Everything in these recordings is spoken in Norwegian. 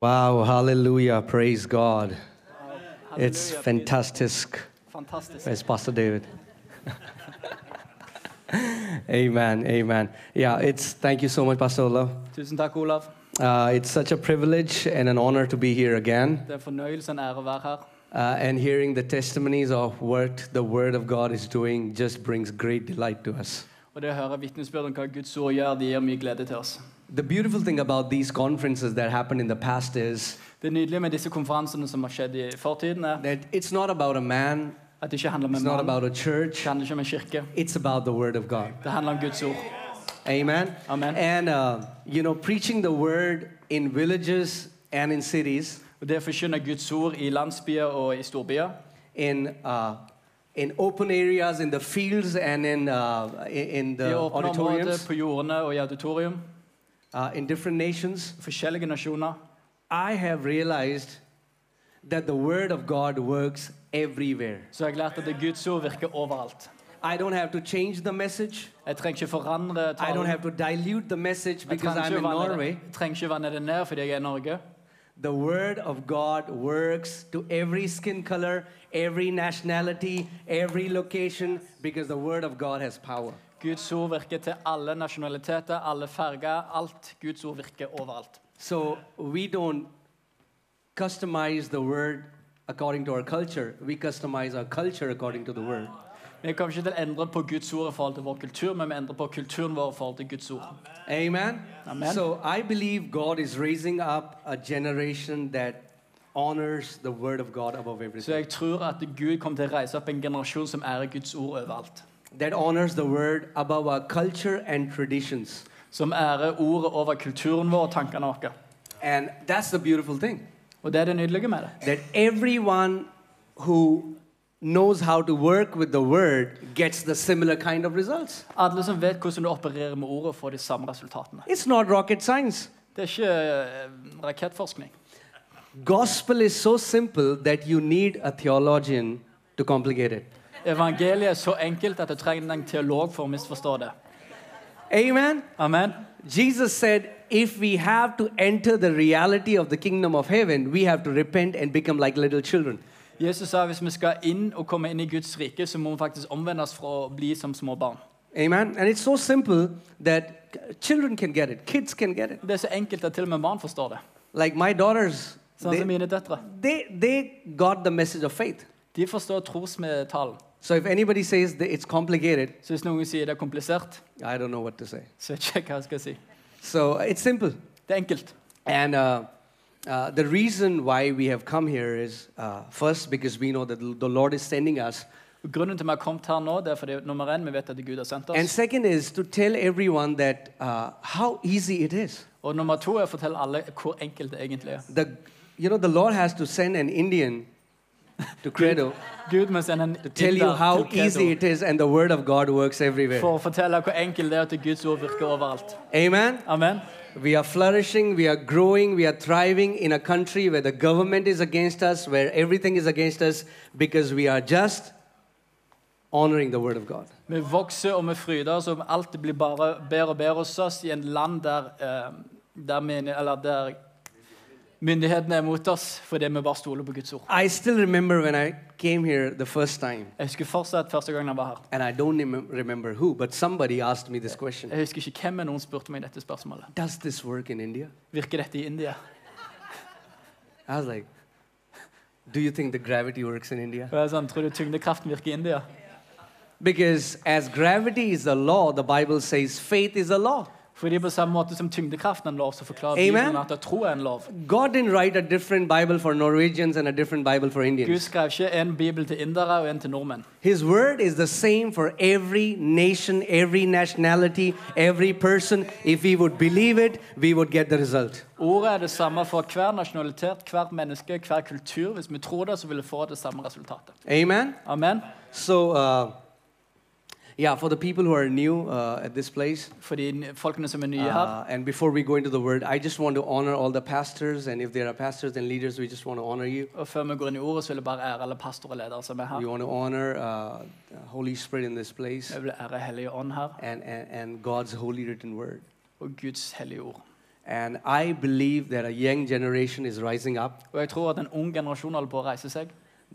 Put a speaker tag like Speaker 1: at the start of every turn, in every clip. Speaker 1: Wow, hallelujah, praise God. It's
Speaker 2: Halleluja,
Speaker 1: fantastic.
Speaker 2: Fantastisk.
Speaker 1: It's Pastor David. amen, amen. Yeah, it's thank you so much, Pastor Olaf.
Speaker 2: Tusen takk, Olav.
Speaker 1: Uh, it's such a privilege and an honor to be here again
Speaker 2: Det er en fornøyelse og en ære å være her.
Speaker 1: uh, and hearing the testimonies of what the Word of God is doing just brings great delight to us.
Speaker 2: Og det å høre vitnesbyrd om hva Guds ord gjør, det gir mye glede til oss.
Speaker 1: The beautiful thing about these conferences that happened in the past is
Speaker 2: Det nydelige med disse konferansene som har skjedd i fortiden, er
Speaker 1: that it's not about a man,
Speaker 2: at det ikke handler om
Speaker 1: it's
Speaker 2: en
Speaker 1: not
Speaker 2: mann,
Speaker 1: about a church,
Speaker 2: det handler ikke om en kirke.
Speaker 1: it's about the Word of God.
Speaker 2: Det handler om Guds ord.
Speaker 1: Amen.
Speaker 2: Amen.
Speaker 1: And uh, you know, preaching the word in villages and in cities,
Speaker 2: Og det å forkynne Guds ord i landsbyer og i storbyer,
Speaker 1: in uh, in open areas, in the fields, and in uh, in- in
Speaker 2: i
Speaker 1: the
Speaker 2: åpne områder,
Speaker 1: auditoriums,
Speaker 2: på jordene og i auditorium,
Speaker 1: uh, in different nations,
Speaker 2: forskjellige nasjoner.
Speaker 1: I have realized that the word of God works everywhere.
Speaker 2: Så jeg har lært at det Guds ord virker overalt.
Speaker 1: I don't have to change the message.
Speaker 2: Jeg trenger ikke forandre
Speaker 1: I don't
Speaker 2: talen.
Speaker 1: have to dilute the message
Speaker 2: Jeg
Speaker 1: because
Speaker 2: trenger
Speaker 1: I'm
Speaker 2: ikke
Speaker 1: in
Speaker 2: vanne det-
Speaker 1: Norway.
Speaker 2: jeg trenger ikke vanne det ned fordi jeg er i Norge.
Speaker 1: The word of God works to every skin color, every nationality, every location, because the word of God has power.
Speaker 2: Guds ord virker til alle nasjonaliteter, alle farger, alt. Guds ord virker overalt.
Speaker 1: So we don't customize the word according to our culture, we customize our culture according to the word.
Speaker 2: Vi kommer ikke til å endre på Guds ord i forhold til vår kultur, men vi endrer på kulturen vår i forhold til Guds ord.
Speaker 1: Amen?
Speaker 2: Amen.
Speaker 1: So I believe God is raising up a generation that honors the word of God above
Speaker 2: Så
Speaker 1: everything,
Speaker 2: jeg tror at Gud kommer til å reise opp en generasjon som ærer Guds ord overalt.
Speaker 1: that honors the word above our culture and traditions.
Speaker 2: Som ærer ordet over kulturen vår og tankene våre.
Speaker 1: And that's the beautiful thing.
Speaker 2: Og det er det nydelige med det.
Speaker 1: that everyone who knows how to work with the word gets the similar kind of results.
Speaker 2: Alle som vet hvordan du opererer med ordet, får de samme resultatene.
Speaker 1: It's not rocket science.
Speaker 2: Det er ikke eh, rakettforskning.
Speaker 1: Gospel is so simple that you need a theologian to complicate it.
Speaker 2: Evangeliet er så enkelt at du trenger en teolog for å misforstå det.
Speaker 1: Amen.
Speaker 2: Amen.
Speaker 1: Jesus said, if we have to enter the reality of the kingdom of heaven, we have to repent and become like little children.
Speaker 2: Jesus sa hvis vi skal inn og komme inn i Guds rike, så må vi faktisk omvende oss fra å bli som små barn.
Speaker 1: Amen. And it's so simple that children can get it, kids can get it.
Speaker 2: Det er så enkelt at til og med barn forstår det.
Speaker 1: Like my daughters,
Speaker 2: Sånn
Speaker 1: they,
Speaker 2: som mine døtre.
Speaker 1: they, they got the message of faith.
Speaker 2: De forstår trosmedtalen.
Speaker 1: So if anybody says that it's complicated,
Speaker 2: Så hvis noen sier det er komplisert,
Speaker 1: I don't know what to say.
Speaker 2: så vet ikke jeg hva jeg skal si.
Speaker 1: So it's simple.
Speaker 2: Det er enkelt.
Speaker 1: And uh, uh, the reason why we have come here is uh, first because we know that the Lord is sending us,
Speaker 2: Og grunnen til at vi har kommet her nå, det er fordi nummer én, vi vet at Gud har sendt
Speaker 1: and
Speaker 2: oss.
Speaker 1: second is to tell everyone that uh, how easy it is.
Speaker 2: Og nummer to er å fortelle alle hvor enkelt det egentlig er.
Speaker 1: The, you know, the Lord has to send an Indian to Credo
Speaker 2: Gud må sende en
Speaker 1: to tell you
Speaker 2: inder
Speaker 1: how
Speaker 2: til Credo
Speaker 1: easy it is, and the Word of God works everywhere.
Speaker 2: for å fortelle hvor enkelt det er at Guds ord virker overalt.
Speaker 1: Amen.
Speaker 2: Amen.
Speaker 1: We are flourishing, we are growing, we are thriving in a country where the government is against us, where everything is against us, because we are just honoring the Word of God.
Speaker 2: Vi vokser og vi fryder oss, og alt blir bare bedre og bedre hos oss i en land der, eh, der, meni- eller der myndighetene er mot oss fordi vi bare stoler på Guds ord.
Speaker 1: I still remember when I came here the first time,
Speaker 2: Jeg husker fortsatt første gangen jeg var her.
Speaker 1: and I don't remem- remember who, but somebody asked me this question
Speaker 2: Jeg husker ikke hvem men noen spurte meg dette spørsmålet.
Speaker 1: Does this work in India?
Speaker 2: Virker dette i India?
Speaker 1: I was like, Do you think the gravity works in India?
Speaker 2: Og jeg er sånn, Tror du tyngdekraften virker i India?
Speaker 1: Because as gravity is a law, the Bible says faith is a law.
Speaker 2: Fordi på samme måte som tyngdekraften er en lov, så forklarer
Speaker 1: Amen.
Speaker 2: Bibelen at tro er en lov.
Speaker 1: God didn't write a different Bible for Norwegians and a different Bible for Indians.
Speaker 2: Gud skrev ikke en bibel til indere og en til nordmenn.
Speaker 1: His word is the same for every nation, every nationality, every person. If we would believe it, we would get the result.
Speaker 2: Ordet er det samme for hver nasjonalitet, hvert menneske, hver kultur. Hvis vi tror det, så vil vi få det samme resultatet.
Speaker 1: Amen.
Speaker 2: Amen.
Speaker 1: So, uh, yeah, for the people who are new uh, at this place,
Speaker 2: for de n- folkene som er nye her.
Speaker 1: uh, and before we go into the word, I just want to honor all the pastors, and if there are pastors and leaders, we just want to honor you.
Speaker 2: Og før vi går inn i ordet, så vil jeg bare ære alle pastorer og ledere som er
Speaker 1: We
Speaker 2: her.
Speaker 1: want to honor uh, the Holy Spirit in this place
Speaker 2: Jeg vil ære Hellige Ånd her,
Speaker 1: and, and, and God's holy written word.
Speaker 2: og Guds hellige ord.
Speaker 1: And I believe that a young generation is rising up
Speaker 2: Og jeg tror at en ung generasjon holder på å reise seg,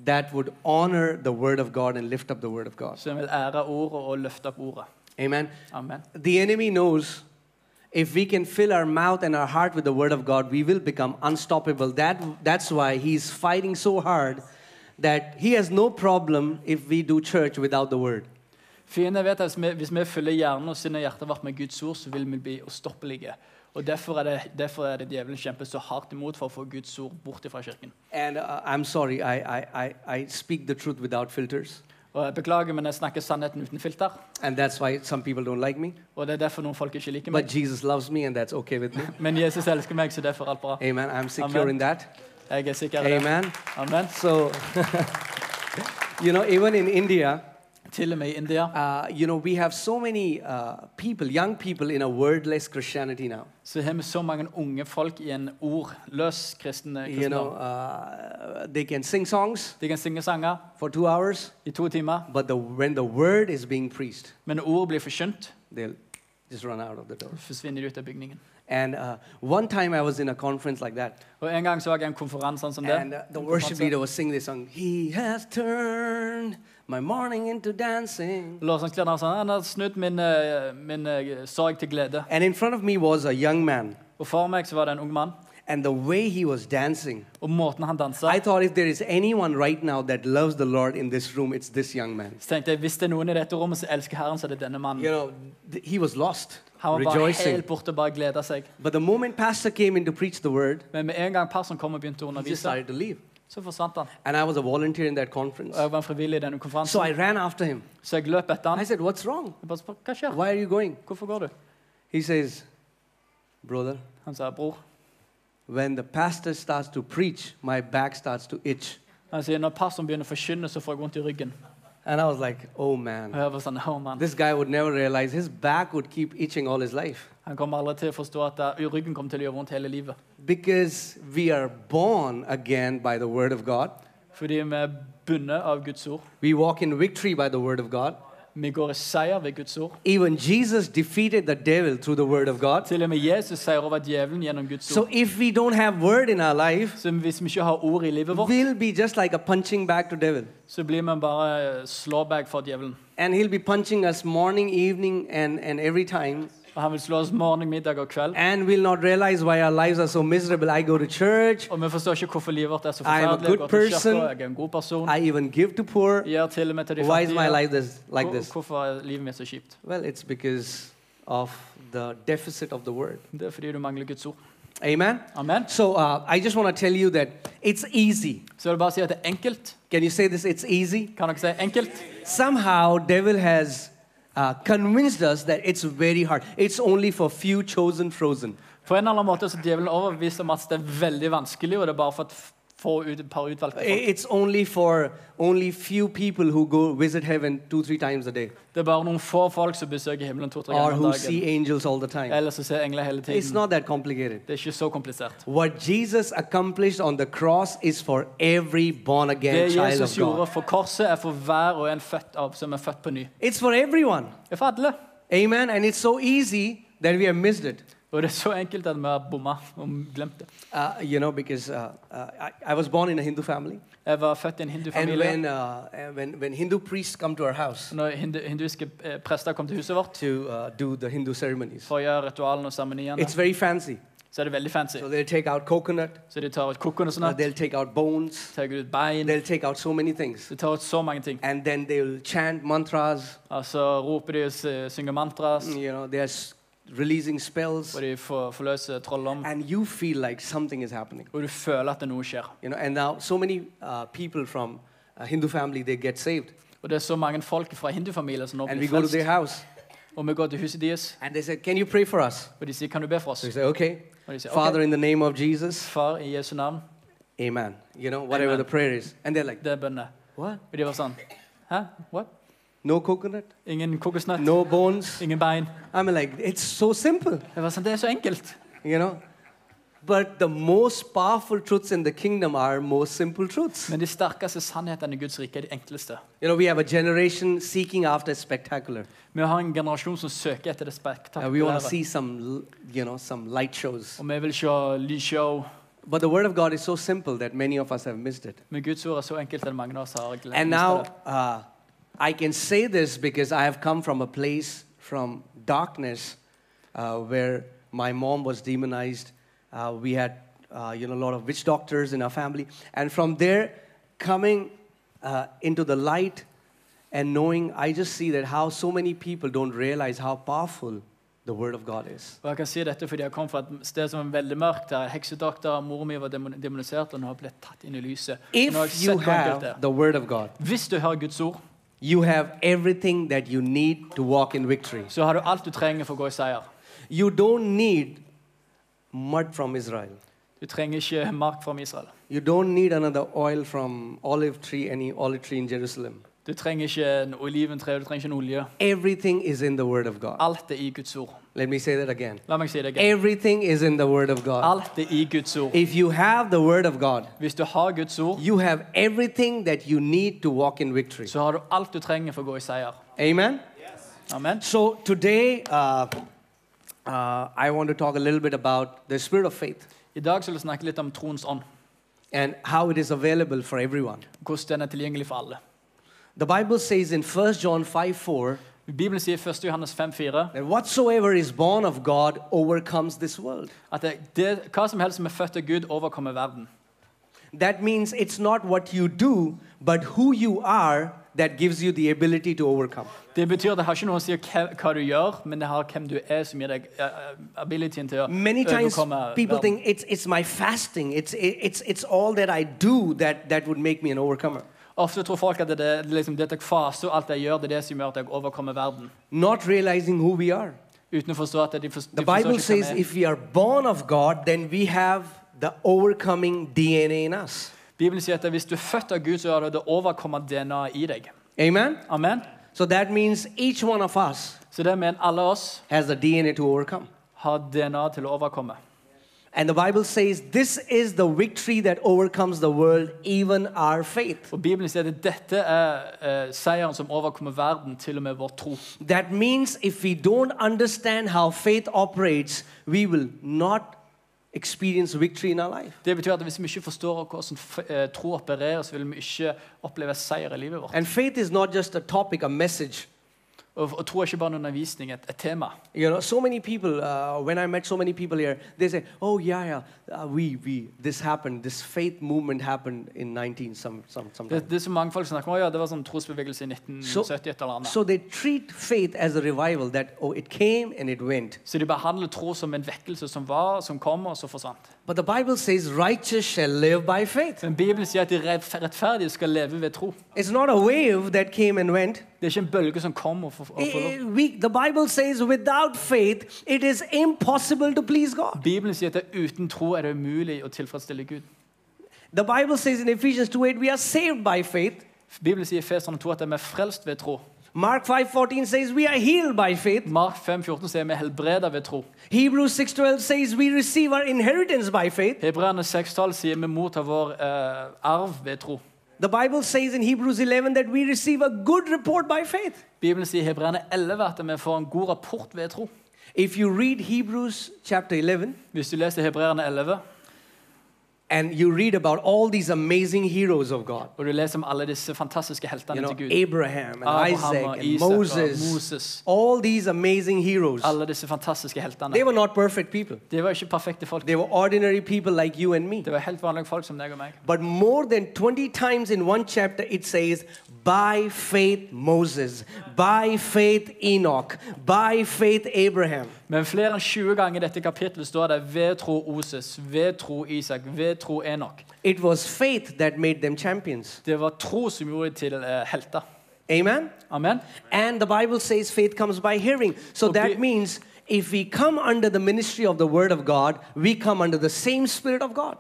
Speaker 1: that would honor the Word of God and lift up the Word of God.
Speaker 2: som vil ære ordet og løfte opp ordet.
Speaker 1: Amen.
Speaker 2: Amen.
Speaker 1: The enemy knows if we can fill our mouth and our heart with the word of God, we will become unstoppable. That, that's why he's fighting so hard that he has no problem if we do church without the word.
Speaker 2: Fienden vet at hvis vi- hvis vi fyller hjernen og sinnet og hjertet vårt med Guds ord, så vil vi bli ustoppelige. Og Derfor er det, derfor er det djevelen kjemper så hardt imot for å få Guds ord bort fra kirken.
Speaker 1: And uh, I'm sorry, I, I, I, I speak the truth without filters.
Speaker 2: Og jeg Beklager, men jeg snakker sannheten uten filter.
Speaker 1: And that's why some people don't like me.
Speaker 2: Og det er derfor noen folk ikke liker
Speaker 1: But
Speaker 2: meg.
Speaker 1: Jesus loves me, and that's okay with me.
Speaker 2: Men Jesus elsker meg, så derfor er alt bra.
Speaker 1: Amen. I'm secure
Speaker 2: Amen.
Speaker 1: in that.
Speaker 2: Jeg er sikker i det.
Speaker 1: Amen.
Speaker 2: Amen.
Speaker 1: So, you know, even in India,
Speaker 2: Til og med i India
Speaker 1: Uh, you know, we have so many uh, people, young people, in a wordless Christianity now.
Speaker 2: så har vi så mange unge folk i en ordløs kristen
Speaker 1: You know,
Speaker 2: kristendom.
Speaker 1: uh, they can sing songs
Speaker 2: De kan synge sanger
Speaker 1: for two hours,
Speaker 2: i to timer,
Speaker 1: but the, when the word is being preached,
Speaker 2: men når ord blir forkynt,
Speaker 1: they'll just run out of the door.
Speaker 2: forsvinner de ut av bygningen.
Speaker 1: And uh, one time I was in a conference like that,
Speaker 2: Og En gang så jeg en konferanse sånn som det.
Speaker 1: and uh, the worship leader was singing this song, He has turned my morning into dancing.
Speaker 2: Lovsangsklederen sa han har snudd min, eh, min eh, sorg til glede.
Speaker 1: And in front of me was a young man,
Speaker 2: Og for meg så var det en ung mann.
Speaker 1: and the way he was dancing,
Speaker 2: Og måten han dansa
Speaker 1: I thought if there is anyone right now that loves the Lord in this room, it's this young man.
Speaker 2: Så tenkte jeg hvis det er noen i dette rommet som elsker Herren, så er det denne
Speaker 1: you
Speaker 2: mannen.
Speaker 1: know, th- he was lost,
Speaker 2: Han var bare
Speaker 1: rejoicing.
Speaker 2: helt borte og bare gleda seg.
Speaker 1: But the moment pastor came in to preach the word,
Speaker 2: Men med en gang personen kom og begynte
Speaker 1: he
Speaker 2: å
Speaker 1: just
Speaker 2: undervise,
Speaker 1: started to leave.
Speaker 2: så forsvant han.
Speaker 1: And I was a volunteer in that conference.
Speaker 2: Og jeg var en frivillig i denne
Speaker 1: So
Speaker 2: konferansen,
Speaker 1: I ran after him.
Speaker 2: så jeg løp etter
Speaker 1: I
Speaker 2: han.
Speaker 1: said, What's wrong?
Speaker 2: Jeg bare spurte hva skjer?
Speaker 1: Why are you going?
Speaker 2: Hvorfor går du?
Speaker 1: He says, Brother,
Speaker 2: Han sa bror.
Speaker 1: when the pastor starts to preach, my back starts to itch.
Speaker 2: Han sier når personen begynner å forkynne, så får jeg vondt i ryggen.
Speaker 1: And I was like, Oh man,
Speaker 2: Og jeg var sånn, «Å, mann.
Speaker 1: this guy would never realize his back would keep itching all his life.
Speaker 2: Han kommer aldri til å forstå at eh, ryggen kommer til å gjøre vondt hele livet.
Speaker 1: Because we are born again by the word of God.
Speaker 2: Fordi vi er bundet av Guds ord.
Speaker 1: We walk in victory by the word of God.
Speaker 2: Vi går i seier ved Guds ord.
Speaker 1: Even Jesus defeated the devil through the word of God.
Speaker 2: Til og med Jesus seier over djevelen gjennom Guds
Speaker 1: So
Speaker 2: ord.
Speaker 1: if we don't have word in our life,
Speaker 2: Så hvis vi ikke har ord i livet vårt,
Speaker 1: we'll be just like a punching bag to devil.
Speaker 2: så blir vi bare slåbag for djevelen.
Speaker 1: And he'll be punching us morning, evening, and, and every time.
Speaker 2: Og han vil slå oss morgen, middag og kveld.
Speaker 1: And we'll not realize why our lives are so miserable. I go to church.
Speaker 2: Og vi forstår ikke hvorfor livet vårt er så
Speaker 1: I am a
Speaker 2: forferdelig.
Speaker 1: good
Speaker 2: Jeg går til kirka,
Speaker 1: person.
Speaker 2: Jeg er en god person.
Speaker 1: I even give to poor.
Speaker 2: Jeg Gir til og med til de
Speaker 1: Why is my
Speaker 2: fattige.
Speaker 1: life this, like
Speaker 2: Hvor-
Speaker 1: this?
Speaker 2: Hvorfor er livet mitt så kjipt?
Speaker 1: Well, it's because of the deficit of the word.
Speaker 2: Det er fordi du mangler Guds ord.
Speaker 1: Amen.
Speaker 2: Amen.
Speaker 1: So uh, I just want to tell you that it's easy.
Speaker 2: Så jeg vil bare si at det er enkelt.
Speaker 1: Can you say this? It's easy.
Speaker 2: Kan dere si enkelt?
Speaker 1: somehow devil has uh, convinced us that it's very hard it's only for few chosen frozen
Speaker 2: På en eller annen måte så er djevelen overbevist om at det er veldig vanskelig, og det er bare for et f- få ut, et par utvalgte folk.
Speaker 1: I- it's only for only few people who go visit heaven two three times a day
Speaker 2: Det er bare noen få folk som besøker himmelen to-tre
Speaker 1: or
Speaker 2: ganger om
Speaker 1: who see
Speaker 2: dagen.
Speaker 1: angels all the time
Speaker 2: Ellers så ser engler hele
Speaker 1: it's
Speaker 2: tiden.
Speaker 1: not that complicated
Speaker 2: Det er ikke så komplisert.
Speaker 1: what jesus accomplished on the cross is for every born again
Speaker 2: Det
Speaker 1: child of
Speaker 2: Jesus gjorde
Speaker 1: god
Speaker 2: for korset, er for hver og en født av, som er født på ny.
Speaker 1: it's for everyone
Speaker 2: Det er for alle.
Speaker 1: amen and it's so easy that we have missed it
Speaker 2: Og det er så enkelt at vi har bomma og glemt det.
Speaker 1: uh, you know because uh, uh, I, I was born in a hindu family
Speaker 2: Jeg var født i en
Speaker 1: And
Speaker 2: hindufamilie.
Speaker 1: when, uh, and when, when Hindu priests come to our house
Speaker 2: Når hindu, hinduiske eh, prester kom til huset vårt
Speaker 1: to uh, do the Hindu ceremonies,
Speaker 2: for å gjøre ritualene og seremoniene,
Speaker 1: it's very fancy.
Speaker 2: så er det veldig fancy.
Speaker 1: So they'll take out coconut,
Speaker 2: Så de tar ut kokken og
Speaker 1: uh,
Speaker 2: sånn,
Speaker 1: they'll take out bones,
Speaker 2: tar ut bein,
Speaker 1: they'll take out so many things.
Speaker 2: de tar ut så mange ting.
Speaker 1: And then they'll chant mantras,
Speaker 2: Altså roper de og s- synger mantras,
Speaker 1: you know, they're s- releasing spells,
Speaker 2: og de får, forløser trolldom.
Speaker 1: and you feel like something is happening.
Speaker 2: Og du føler at det noe skjer.
Speaker 1: You know, and now so many uh, people from uh, Hindu family, they get saved.
Speaker 2: Og det er så mange folk fra hindufamilier som nå
Speaker 1: And
Speaker 2: blir
Speaker 1: we go to their
Speaker 2: frelst.
Speaker 1: house,
Speaker 2: Og vi går til huset deres,
Speaker 1: and they say, can you pray for us?
Speaker 2: og de sier 'Kan du be for
Speaker 1: So we
Speaker 2: oss?'
Speaker 1: say, okay.
Speaker 2: Og de sier
Speaker 1: Father,
Speaker 2: 'OK,
Speaker 1: in the name of Jesus,
Speaker 2: far i Jesu navn,
Speaker 1: amen. You know, whatever
Speaker 2: Amen.
Speaker 1: the prayer is. And they're like,
Speaker 2: det er bønner'.
Speaker 1: what?
Speaker 2: Og de var sånn 'Hæ? What?
Speaker 1: No coconut,
Speaker 2: Ingen kokosnøtt?
Speaker 1: no bones.
Speaker 2: Ingen bein?'
Speaker 1: I mean, like, it's so simple,
Speaker 2: Jeg var sånn 'Det er så enkelt'.
Speaker 1: you know. But the most powerful truths in the kingdom are most simple truths.
Speaker 2: Men de sterkeste sannhetene i Guds rike er de enkleste.
Speaker 1: You know, we have a generation seeking after spectacular.
Speaker 2: Vi har en generasjon som søker etter det
Speaker 1: Uh, we want to
Speaker 2: spektakulære.
Speaker 1: see some, l- you know, some light shows.
Speaker 2: Og vi vil se lysshow.
Speaker 1: But the word of God is so simple that many of us have missed it.
Speaker 2: Men Guds ord er så enkelt at mange av oss har glemt
Speaker 1: And now
Speaker 2: det.
Speaker 1: uh, I can say this because I have come from a place from darkness uh, where my mom was demonized. Uh, we had uh, you know, a lot of witch doctors in our family. And from there, coming uh, into the light and knowing, I just see that how so many people don't realize how powerful the Word of God is.
Speaker 2: Og jeg kan si dette fordi jeg kom fra et sted som var veldig mørkt. der Heksedokter, mor mi var demon- demonisert, og hun har blitt tatt inn i lyset. Og nå
Speaker 1: If
Speaker 2: har jeg
Speaker 1: you
Speaker 2: sett hvor enkelt det
Speaker 1: have
Speaker 2: er.
Speaker 1: the Word of God,
Speaker 2: Hvis du hører Guds ord,
Speaker 1: you have everything that you need to walk in victory.
Speaker 2: så har du alt du trenger for å gå i seier.
Speaker 1: You don't need mud from Israel.
Speaker 2: Du trenger ikke mark fra Israel.
Speaker 1: You don't need another oil from olive tree, any olive tree in Jerusalem.
Speaker 2: Du trenger ikke en oliventre, du trenger ikke en olje.
Speaker 1: Everything is in the Word of God.
Speaker 2: Alt er i Guds ord.
Speaker 1: Let me say that again.
Speaker 2: La meg si det igjen.
Speaker 1: Everything is in the Word of God.
Speaker 2: Alt er i Guds ord.
Speaker 1: If you have the Word of God,
Speaker 2: Hvis du har Guds ord,
Speaker 1: you have everything that you need to walk in victory.
Speaker 2: så har du alt du trenger for å gå i seier.
Speaker 1: Amen?
Speaker 2: Amen.
Speaker 1: So today, uh, uh, I want to talk a little bit about the spirit of faith
Speaker 2: I dag skal vi snakke litt om troens ånd.
Speaker 1: and how it is available for everyone.
Speaker 2: Hvordan den er tilgjengelig for alle.
Speaker 1: The Bible says in 1 John 5 4,
Speaker 2: Bibelen sier i 1. Johannes 5,4
Speaker 1: that whatsoever is born of God overcomes this world.
Speaker 2: at det, det, hva som helst som er født av Gud, overkommer verden.
Speaker 1: That means it's not what you do, but who you are that gives you the ability to overcome.
Speaker 2: Det betyr det har ikke noe å si hva, hva du gjør, men det har hvem du er, som gir deg eh, abilityen til å eh,
Speaker 1: Many times
Speaker 2: overkomme
Speaker 1: people
Speaker 2: verden.
Speaker 1: think it's, it's my fasting, it's, it's, it's all that I do that, that would make me an overcomer.
Speaker 2: Ofte tror folk at det, det, liksom, det at jeg faser og alt jeg gjør, det er det som gjør at jeg overkommer verden.
Speaker 1: Not realizing who we are.
Speaker 2: Uten å forstå at de, for,
Speaker 1: The
Speaker 2: de forstår
Speaker 1: Bible
Speaker 2: ikke hvem
Speaker 1: says
Speaker 2: jeg er.
Speaker 1: if we are born of God, then we have the overcoming DNA in us.
Speaker 2: Bibelen sier at hvis du er født av Gud, så har du det overkommer DNA-et i deg.
Speaker 1: Amen?
Speaker 2: Amen.
Speaker 1: So that means each one of us
Speaker 2: Så det mener alle oss
Speaker 1: has the DNA to overcome.
Speaker 2: har DNA til å overkomme.
Speaker 1: And the Bible says, This is the victory that overcomes the world, even our faith.
Speaker 2: Og Bibelen sier at dette er eh, seieren som overkommer verden, til og med vår tro.
Speaker 1: That means if we don't understand how faith operates, we will not experience victory in our life.
Speaker 2: Det betyr at hvis vi ikke forstår hvordan f- eh, tro opererer, så vil vi ikke oppleve seier i livet vårt.
Speaker 1: And faith is not just a topic, a message.
Speaker 2: Og, og tro er ikke bare en undervisning, et, et tema.
Speaker 1: You know, so many people, uh, when I met so many people here, they say, oh, yeah, yeah, uh, we, we, this happened, this faith movement happened in 19 some, some,
Speaker 2: Det,
Speaker 1: sometime.
Speaker 2: det er så mange folk som snakker om «Å ja, det var sånn trosbevegelse i 1970 et eller annet.
Speaker 1: So they treat faith as a revival that, oh, it came and it went.
Speaker 2: Så de behandler tro som en vekkelse som var, som kom, og så forsvant.
Speaker 1: But the Bible says, righteous shall live by faith.
Speaker 2: Men Bibelen sier at de rett- rettferdige skal leve ved tro.
Speaker 1: It's not a wave that came and went.
Speaker 2: Det er ikke en bølge som kom og for- og forlot.
Speaker 1: I- I- we- the Bible says, without faith, it is impossible to please God.
Speaker 2: Bibelen sier at det, uten tro er det umulig å tilfredsstille Gud.
Speaker 1: The Bible says in Ephesians 2:8, we are saved by faith.
Speaker 2: Bibelen sier i Feserne 2 at vi er frelst ved tro.
Speaker 1: Mark 5:14 says we are healed by faith.
Speaker 2: Mark 5, 14 sier vi er helbreda ved tro.
Speaker 1: Hebrews 6:12 says we receive our inheritance by faith.
Speaker 2: Hebreerne 6-tall sier vi mottar vår eh, arv ved tro.
Speaker 1: The Bible says in Hebrews 11 that we receive a good report by faith.
Speaker 2: Bibelen sier i Hebreerne 11 at vi får en god rapport ved tro.
Speaker 1: If you read Hebrews chapter 11
Speaker 2: Hvis du leser Hebreerne 11,
Speaker 1: and you read about all these amazing heroes of God,
Speaker 2: og du leser om alle disse fantastiske
Speaker 1: you
Speaker 2: heltene
Speaker 1: know,
Speaker 2: til Gud
Speaker 1: Abraham and Isaac
Speaker 2: og
Speaker 1: and
Speaker 2: Isak og
Speaker 1: Moses,
Speaker 2: Moses.
Speaker 1: all these amazing heroes,
Speaker 2: Alle disse fantastiske
Speaker 1: they
Speaker 2: heltene.
Speaker 1: were not perfect people.
Speaker 2: Det var ikke perfekte folk.
Speaker 1: They were ordinary people like you and me.
Speaker 2: Det var helt vanlige folk som deg og meg.
Speaker 1: But more than 20 times in one chapter, it says, by faith Moses, by faith Enoch, by faith Abraham.
Speaker 2: Men flere enn 20 ganger i dette kapittelet står det 'ved tro Oses', 'ved tro Isak', 'ved tro Enok'.
Speaker 1: It was faith that made them champions.
Speaker 2: Det var tro som gjorde dem til eh, helter.
Speaker 1: Amen?
Speaker 2: Amen.
Speaker 1: And the Bible says faith comes by hearing. So
Speaker 2: Okay.
Speaker 1: that means if we come under the ministry of the Word of God, we come under the same Spirit of God.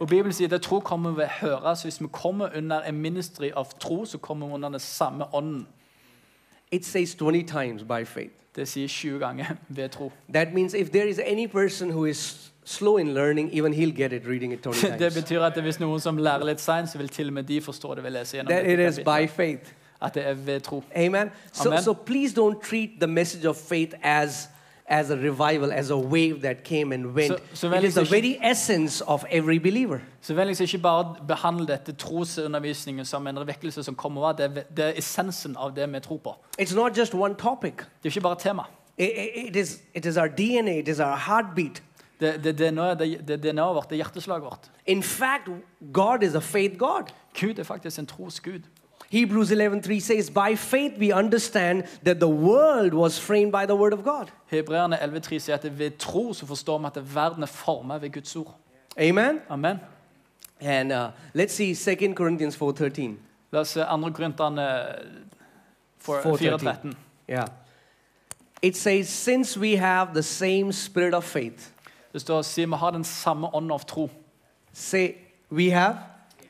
Speaker 2: Og Bibelen sier at tro kommer ved å høre, så hvis vi kommer under en ministry av tro, så kommer vi under den samme ånden.
Speaker 1: It says 20 times by faith.
Speaker 2: Det sier 20 ganger ved tro.
Speaker 1: That means if there is any person who is slow in learning, even he'll get it reading it 20
Speaker 2: Det
Speaker 1: times.
Speaker 2: betyr at hvis noen som lærer litt seint, så vil til og med de forstå det ved å lese gjennom
Speaker 1: that it
Speaker 2: dette
Speaker 1: is
Speaker 2: kapitlet.
Speaker 1: by faith.
Speaker 2: At det er ved tro.
Speaker 1: Amen. So,
Speaker 2: Amen.
Speaker 1: so please don't treat the message of faith as as a revival, as a wave that came and went.
Speaker 2: So- so
Speaker 1: it
Speaker 2: when
Speaker 1: is the
Speaker 2: it's a-
Speaker 1: very essence of every believer.
Speaker 2: Så vennligst ikke bare behandle dette trosundervisningen som en vekkelse som kommer over. Det er, det er essensen av det vi tror på.
Speaker 1: It's not just one topic.
Speaker 2: Det er ikke bare et tema.
Speaker 1: I- i- it is it is our DNA. It is our heartbeat.
Speaker 2: Det, det, det, er noe- det, det er DNA-et vårt, det er hjerteslaget vårt.
Speaker 1: In fact, God is a faith God.
Speaker 2: Gud er faktisk en trosgud.
Speaker 1: Hebrews 11:3 says, "By faith we understand that the world was framed by the word of God."
Speaker 2: Hebreerne 11,3 sier at ved tro så forstår vi at verden er formet ved Guds ord.
Speaker 1: Amen.
Speaker 2: Amen.
Speaker 1: And uh, let's see 2 Corinthians 4:13.
Speaker 2: La oss eh, se 2. Korintene eh, for-
Speaker 1: 4:13.
Speaker 2: 4.13.
Speaker 1: Yeah. It says, since we have the same spirit of faith,
Speaker 2: Det står si vi har den samme ånd av tro.
Speaker 1: say, we have,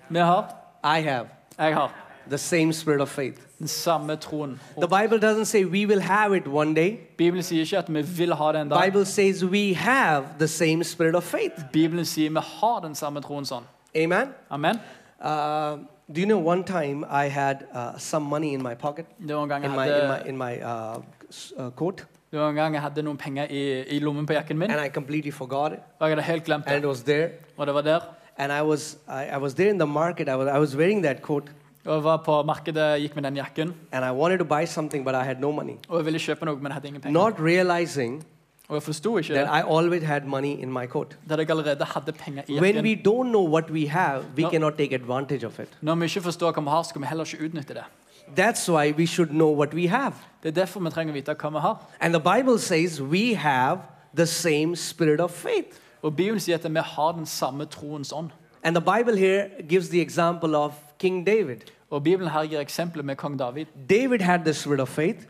Speaker 2: Vi har,
Speaker 1: I have
Speaker 2: jeg har,
Speaker 1: the same spirit of faith.
Speaker 2: den samme troen.
Speaker 1: The Bible doesn't say we will have it one day.
Speaker 2: Bibelen sier ikke at vi vil ha det en dag.
Speaker 1: Bible says we have the same spirit of faith.
Speaker 2: Bibelen sier vi har den samme troen sånn.
Speaker 1: Amen.
Speaker 2: Amen.
Speaker 1: Uh, do you know one time I had uh, some money in my pocket,
Speaker 2: Det var en gang
Speaker 1: in
Speaker 2: jeg
Speaker 1: my, in my,
Speaker 2: hadde,
Speaker 1: in my uh, s- uh, coat,
Speaker 2: det var en gang jeg hadde noen penger i, i lommen på jakken min,
Speaker 1: and I completely forgot it,
Speaker 2: og jeg hadde helt glemt
Speaker 1: and
Speaker 2: det.
Speaker 1: it was there.
Speaker 2: Og det var der.
Speaker 1: And I was, I, I was there in the market. I was, I was wearing that coat,
Speaker 2: Og jeg var på markedet, gikk med den jakken,
Speaker 1: and I wanted to buy something, but I had no money.
Speaker 2: og jeg ville kjøpe noe, men jeg hadde ingen penger.
Speaker 1: not realizing
Speaker 2: Og jeg forsto ikke
Speaker 1: that
Speaker 2: det.
Speaker 1: I always had money in my coat.
Speaker 2: Der jeg allerede hadde penger i
Speaker 1: When
Speaker 2: jakken.
Speaker 1: we don't know what we have, we
Speaker 2: No.
Speaker 1: cannot take advantage of it.
Speaker 2: Når vi ikke forstår hva vi har, skal vi heller ikke utnytte det.
Speaker 1: That's why we should know what we have.
Speaker 2: Det er derfor vi trenger å vite hva vi har.
Speaker 1: And the Bible says we have the same spirit of faith.
Speaker 2: Og Bibelen sier at vi har den samme troens ånd.
Speaker 1: And the Bible here gives the example of King David.
Speaker 2: Og Bibelen her gir eksempler med kong David.
Speaker 1: David had the spirit of faith.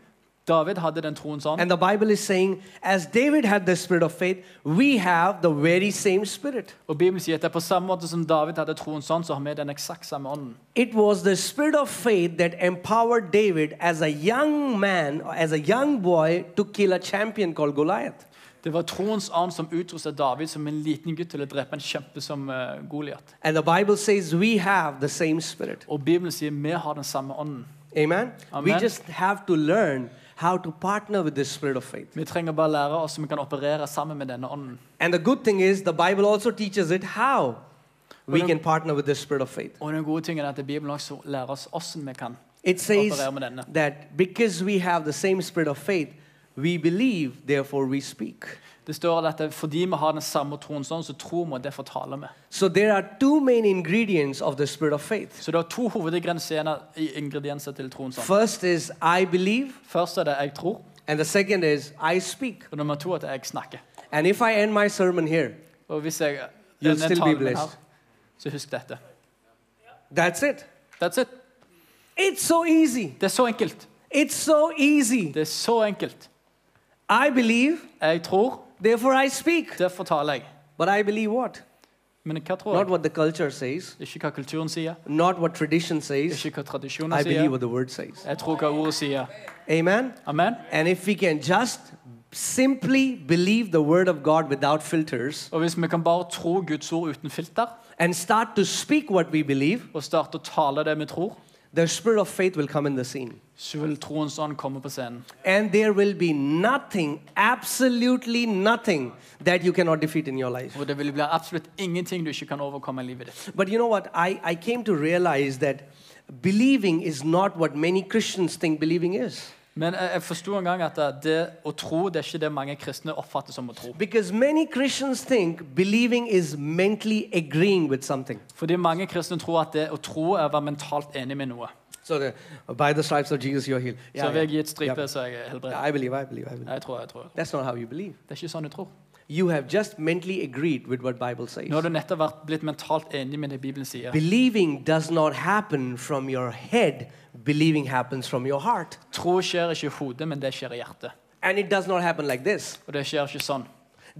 Speaker 2: David hadde den troens ånd.
Speaker 1: And the Bible is saying, as David had the spirit of faith, we have the very same spirit.
Speaker 2: Og Bibelen sier at det er på samme måte som David hadde troens ånd, så har vi den eksakt samme ånden.
Speaker 1: It was the spirit of faith that empowered David as a young man, or as a young boy, to kill a champion called Goliath.
Speaker 2: Det var troens ånd som utrustet David som en liten gutt til å drepe en kjempe som eh, Goliat.
Speaker 1: And the Bible says we have the same spirit.
Speaker 2: Og Bibelen sier vi har den samme ånden.
Speaker 1: Amen? We
Speaker 2: Amen.
Speaker 1: just have to learn how to partner with this spirit of faith.
Speaker 2: Vi trenger bare lære oss om vi kan operere sammen med denne ånden.
Speaker 1: And the good thing is, the Bible also teaches it how we
Speaker 2: Well,
Speaker 1: can partner with this spirit of faith.
Speaker 2: Og den gode tingen er at Bibelen også lærer oss hvordan vi kan.
Speaker 1: It says
Speaker 2: operera med denna.
Speaker 1: that because we have the same spirit of faith, we believe, therefore we speak.
Speaker 2: Det står at det- fordi vi har den samme troens ånd, så tror vi, og derfor taler vi.
Speaker 1: So there are two main ingredients of the spirit of faith.
Speaker 2: Så det er to hovedingredienser i- ingredienser til troens ånd.
Speaker 1: First is I believe,
Speaker 2: Først er det jeg tror,
Speaker 1: and the second is I speak.
Speaker 2: og nummer to er at jeg snakker.
Speaker 1: And if I end my sermon here,
Speaker 2: Og hvis jeg
Speaker 1: You'll
Speaker 2: denne
Speaker 1: still be
Speaker 2: talen min
Speaker 1: blessed.
Speaker 2: her, så husk dette.
Speaker 1: that's it.
Speaker 2: That's it.
Speaker 1: It's so easy.
Speaker 2: Det er så enkelt.
Speaker 1: It's so easy.
Speaker 2: Det er så enkelt.
Speaker 1: I believe,
Speaker 2: Jeg tror,
Speaker 1: therefore I speak.
Speaker 2: derfor taler jeg.
Speaker 1: But I believe what?
Speaker 2: Men hva tror
Speaker 1: Not
Speaker 2: jeg?
Speaker 1: what the culture says,
Speaker 2: Ikke hva kulturen sier,
Speaker 1: not what tradition says.
Speaker 2: ikke hva tradisjonen
Speaker 1: I believe
Speaker 2: sier.
Speaker 1: what the word says.
Speaker 2: Jeg tror hva ordet sier.
Speaker 1: Amen.
Speaker 2: Amen.
Speaker 1: And if we can just simply believe the word of God without filters
Speaker 2: Og hvis vi kan bare tro Guds ord uten filter,
Speaker 1: and start to speak what we believe,
Speaker 2: og starte å tale det vi tror,
Speaker 1: the spirit of faith will come in the scene.
Speaker 2: så vil troens ånd komme på scenen.
Speaker 1: And there will be nothing, absolutely nothing, that you cannot defeat in your life.
Speaker 2: Og det vil bli absolutt ingenting du ikke kan overkomme i livet ditt.
Speaker 1: But you know what? I, I came to realize that believing is not what many Christians think believing is.
Speaker 2: Men jeg, jeg forsto en gang at det å tro, det er ikke det mange kristne oppfatter som å tro.
Speaker 1: Because many Christians think believing is mentally agreeing with something.
Speaker 2: Fordi mange kristne tror at det å tro er å være mentalt enig med noe.
Speaker 1: So, the, by the stripes of Jesus, you're healed.
Speaker 2: Så ved jeg gitt
Speaker 1: Yeah.
Speaker 2: stripe, så er jeg helbredet.
Speaker 1: I believe, I believe, I believe.
Speaker 2: Jeg tror, jeg tror.
Speaker 1: That's not how you believe.
Speaker 2: Det er ikke sånn du tror.
Speaker 1: You have just mentally agreed with what Bible says.
Speaker 2: Nå har du nettopp vært blitt mentalt enig med det Bibelen sier.
Speaker 1: Believing does not happen from your head. Believing happens from your heart.
Speaker 2: Tro skjer ikke i hodet, men det skjer i hjertet.
Speaker 1: And it does not happen like this.
Speaker 2: Og det skjer ikke sånn.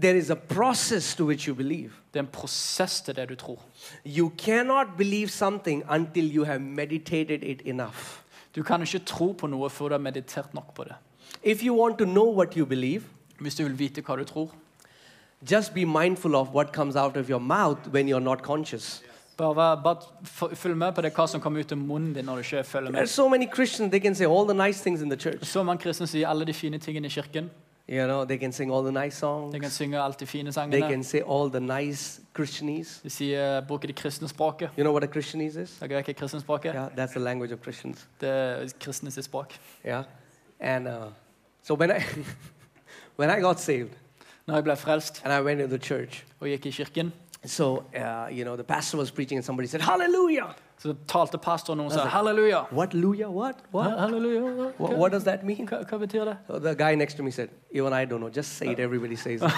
Speaker 1: There is a process to which you believe.
Speaker 2: Det er en prosess til det du tror.
Speaker 1: You cannot believe something until you have meditated it enough.
Speaker 2: Du kan ikke tro på noe før du har meditert nok på det.
Speaker 1: If you want to know what you believe,
Speaker 2: Hvis du vil vite hva du tror,
Speaker 1: Just be mindful of what comes out of your mouth when you're not conscious.
Speaker 2: Bare, vær- bare f- følg med på det hva som kommer ut av munnen din når du ikke følger
Speaker 1: There are
Speaker 2: med.
Speaker 1: so many Christians, they can say all the nice things in the church.
Speaker 2: Så mange kristne sier alle de fine tingene i kirken.
Speaker 1: You know, they can sing all the nice songs.
Speaker 2: De kan synge alle de fine
Speaker 1: They
Speaker 2: sangene.
Speaker 1: can say all the nice Christianese.
Speaker 2: De sier, eh, bruker det kristne språket.
Speaker 1: You know what a Christianese is?
Speaker 2: Dere vet hva kristne språket er?
Speaker 1: Yeah, that's the language of Christians.
Speaker 2: Det er kristne sitt språk.
Speaker 1: Yeah. And uh, so when I, when I got saved
Speaker 2: Når jeg ble frelst
Speaker 1: and I went to the church,
Speaker 2: og gikk i kirken,
Speaker 1: so, uh, you know, the pastor was preaching and somebody said, Hallelujah!
Speaker 2: så talte pastoren og sa halleluja.
Speaker 1: What, Luya? What? What?
Speaker 2: Hæ, Halleluja?
Speaker 1: What,
Speaker 2: Hva,
Speaker 1: what does that mean?
Speaker 2: hva, hva betyr det?
Speaker 1: So the guy next to me said, Even I don't know, just say it, everybody says it.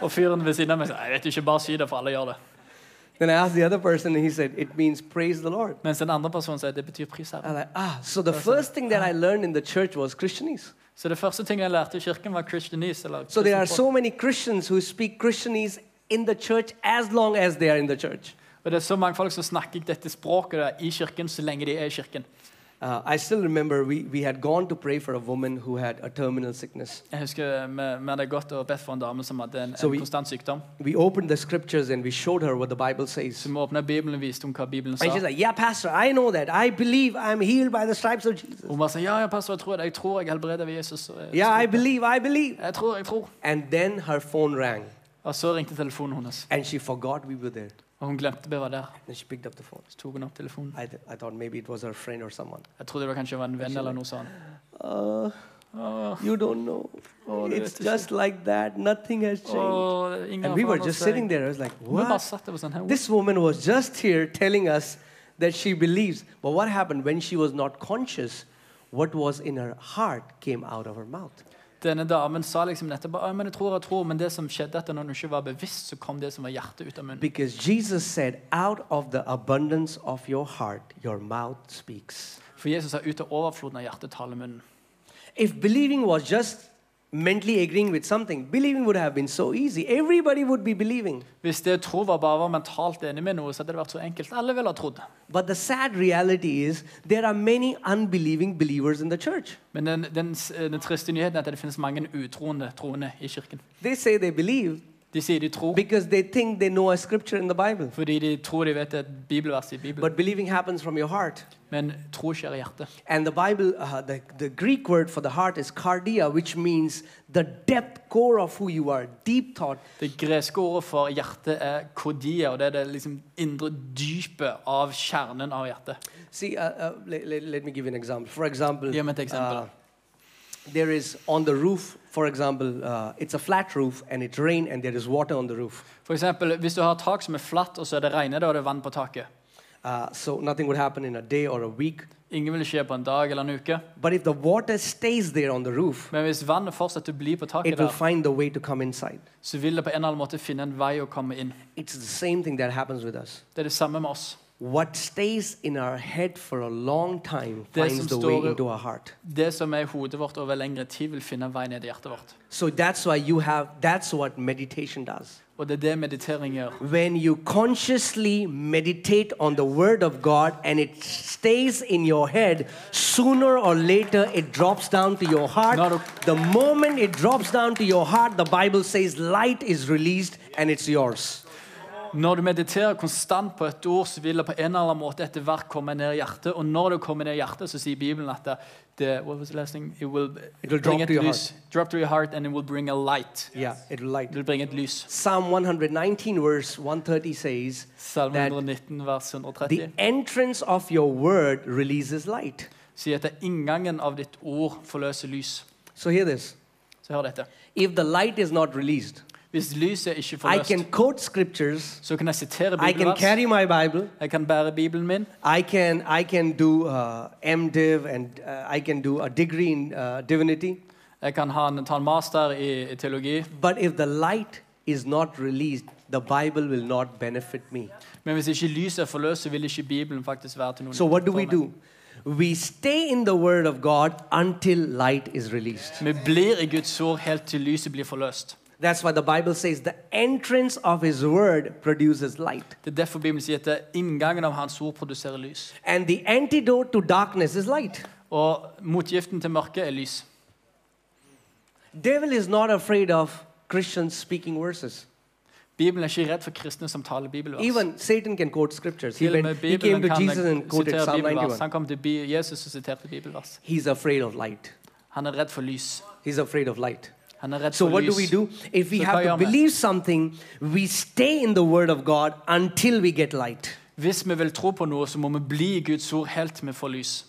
Speaker 2: Og fyren ved siden av meg sa jeg vet ikke, bare si det, for alle gjør det.
Speaker 1: then I asked the other person and he said, It means praise the Lord.
Speaker 2: Mens den andre personen sier det betyr pris herre.
Speaker 1: I'm like, Ah, so the first thing that I learned in the church was Christianese.
Speaker 2: Så det første ting jeg lærte i kirken, var Christianese. Eller
Speaker 1: So there are
Speaker 2: kristen folk.
Speaker 1: so many Christians who speak Christianese in the church as long as they are in the church.
Speaker 2: og det er så mange folk som snakker dette språket der, i kirken så lenge de er i kirken.
Speaker 1: Uh, I still remember we, we had gone to pray for a woman who had a terminal sickness.
Speaker 2: Jeg husker eh, vi, vi hadde gått og bedt for en dame som hadde en,
Speaker 1: Så vi-
Speaker 2: en konstant sykdom.
Speaker 1: We opened the scriptures and we showed her what the Bible says.
Speaker 2: Så vi åpnet Bibelen og viste henne hva Bibelen sa.
Speaker 1: And she's like, Yeah, Pastor, I know that. I believe I'm healed by the stripes of Jesus.
Speaker 2: Hun bare sa ja, ja, pastor, jeg tror det. Jeg tror jeg helbreder ved Jesus. og-
Speaker 1: Yeah, I believe, I believe.
Speaker 2: Jeg tror, jeg tror.
Speaker 1: And then her phone rang
Speaker 2: Og så ringte telefonen hennes,
Speaker 1: and she forgot we were there.
Speaker 2: og hun glemte vi var der.
Speaker 1: And she picked up the phone.
Speaker 2: Så tok hun opp telefonen.
Speaker 1: I, th- I thought maybe it was her friend or someone.
Speaker 2: Jeg trodde det kanskje var en venn eller noe sånt.
Speaker 1: Uh,
Speaker 2: Åh,
Speaker 1: you don't know.
Speaker 2: Oh,
Speaker 1: it's
Speaker 2: that's- Oh,
Speaker 1: just like that. Nothing has changed.
Speaker 2: åh, ingen
Speaker 1: And
Speaker 2: har
Speaker 1: we were
Speaker 2: forandret
Speaker 1: just
Speaker 2: seg.
Speaker 1: sitting there. I was like,
Speaker 2: Vi bare
Speaker 1: what?
Speaker 2: satt der og sånn, her.
Speaker 1: This woman was just here telling us that she believes. But what happened when she was not conscious? What was in her heart came out of her mouth.
Speaker 2: Denne damen sa liksom nettopp «Å, men jeg tror, jeg tror, men det som skjedde etter når hun ikke var bevisst, så kom det som var hjertet ut av munnen.
Speaker 1: Because Jesus said, out of the abundance of your heart, your mouth speaks.
Speaker 2: For Jesus sa ut av overfloden av hjertet taler munnen.
Speaker 1: If believing was just mentally agreeing with something, believing would have been so easy. Everybody would be believing.
Speaker 2: Hvis det å tro var bare var mentalt enig med noe, så hadde det vært så enkelt. Alle ville ha trodd.
Speaker 1: But the sad reality is, there are many unbelieving believers in the church.
Speaker 2: Men den, den, s- den triste nyheten er at det finnes mange utroende troende i kirken.
Speaker 1: They say they believe
Speaker 2: De sier de tror
Speaker 1: because they think they know a scripture in the Bible.
Speaker 2: fordi de tror de vet et bibelvers i Bibelen,
Speaker 1: But believing happens from your heart.
Speaker 2: men tro skjer i hjertet.
Speaker 1: And the Bible, uh, the, the Greek word for the heart is cardia, which means the depth, core of who you are, deep thought.
Speaker 2: Det greske ordet for hjerte er kodia, og det er det liksom indre dypet av kjernen av hjertet.
Speaker 1: See, uh, uh, let, let, me give you an example. For example,
Speaker 2: Give me an example.
Speaker 1: uh, there is on the roof, for example, uh, it's a flat roof and it rain and there is water on the roof.
Speaker 2: For eksempel, hvis du har tak som er flatt, og så er det regnet, da er det vann på taket.
Speaker 1: Uh, so nothing would happen in a day or a week.
Speaker 2: Ingen vil skje på en dag eller en uke.
Speaker 1: But if the water stays there on the roof,
Speaker 2: Men hvis vannet fortsetter å bli på
Speaker 1: it
Speaker 2: taket
Speaker 1: will
Speaker 2: der,
Speaker 1: find the way to come inside.
Speaker 2: så vil det på en eller annen måte finne en vei å komme inn.
Speaker 1: It's the same thing that happens with us.
Speaker 2: Det er det samme med oss.
Speaker 1: What stays in our head for a long time
Speaker 2: Det er
Speaker 1: finds
Speaker 2: som
Speaker 1: the way
Speaker 2: står-
Speaker 1: into our heart.
Speaker 2: Det som er i hodet vårt over lengre tid, vil finne en vei ned i hjertet vårt.
Speaker 1: So that's why you have, that's what meditation does.
Speaker 2: Og det er det meditering gjør.
Speaker 1: When you consciously meditate on the Word of God and it stays in your head, sooner or later it drops down to your heart.
Speaker 2: Not a-
Speaker 1: the moment it drops down to your heart, the Bible says light is released and it's yours.
Speaker 2: Når du mediterer konstant på et ord, så vil det på en eller annen måte etter hvert komme ned i hjertet. Og når det kommer ned i hjertet, så sier Bibelen at det, det, what was the last thing? It will,
Speaker 1: It will drop
Speaker 2: bring et
Speaker 1: to your
Speaker 2: lys. Drop to your heart, and it will bring a light.
Speaker 1: Yeah, it will light.
Speaker 2: Det vil bringe et lys.
Speaker 1: Psalm 119, verse 130 says,
Speaker 2: Salme
Speaker 1: That-
Speaker 2: 119, vers 130.
Speaker 1: The entrance of your word releases light.
Speaker 2: sier at det er inngangen av ditt ord forløser lys.
Speaker 1: So hear this.
Speaker 2: Så hør dette.
Speaker 1: If the light is not released,
Speaker 2: Hvis lyset ikke
Speaker 1: I can
Speaker 2: forløst,
Speaker 1: quote scriptures.
Speaker 2: så kan jeg sitere
Speaker 1: I can
Speaker 2: bibelvers.
Speaker 1: carry my Bible.
Speaker 2: Jeg kan bære Bibelen min.
Speaker 1: I can I can do uh, MDiv and uh, I can do a degree in uh, divinity.
Speaker 2: Jeg kan ha en, ta en master i, i teologi.
Speaker 1: But if the light is not released, the Bible will not benefit me.
Speaker 2: Men hvis ikke lyset er forløst, så vil ikke Bibelen faktisk være til noen
Speaker 1: So what do
Speaker 2: for
Speaker 1: we
Speaker 2: meg.
Speaker 1: do? We stay in the Word of God until light is released.
Speaker 2: Vi blir i Guds ord helt til lyset blir forløst.
Speaker 1: That's why the Bible says the entrance of His Word produces light.
Speaker 2: Det er derfor Bibelen sier at det er inngangen av Hans ord produserer lys.
Speaker 1: And the antidote to darkness is light.
Speaker 2: Og motgiften til mørket er lys.
Speaker 1: Devil is not afraid of Christians speaking verses.
Speaker 2: Bibelen er ikke redd for kristne som taler bibelvers.
Speaker 1: Even Satan can quote scriptures. He,
Speaker 2: Til og med
Speaker 1: went, he came
Speaker 2: Bibelen
Speaker 1: to
Speaker 2: kan
Speaker 1: Jesus and quoted
Speaker 2: sitere
Speaker 1: Psalm
Speaker 2: bibelvers.
Speaker 1: 91.
Speaker 2: Han kom til Bi- Jesus og siterte bibelvers.
Speaker 1: He's afraid of light.
Speaker 2: Han er redd for lys.
Speaker 1: He's afraid of light.
Speaker 2: Han er redd
Speaker 1: So
Speaker 2: for
Speaker 1: what do we
Speaker 2: lys.
Speaker 1: do? If we
Speaker 2: So
Speaker 1: have to
Speaker 2: Kayama.
Speaker 1: believe something, we stay in the word of God until we get light.
Speaker 2: Hvis vi vil tro på noe, så må vi bli i Guds ord helt til vi får lys.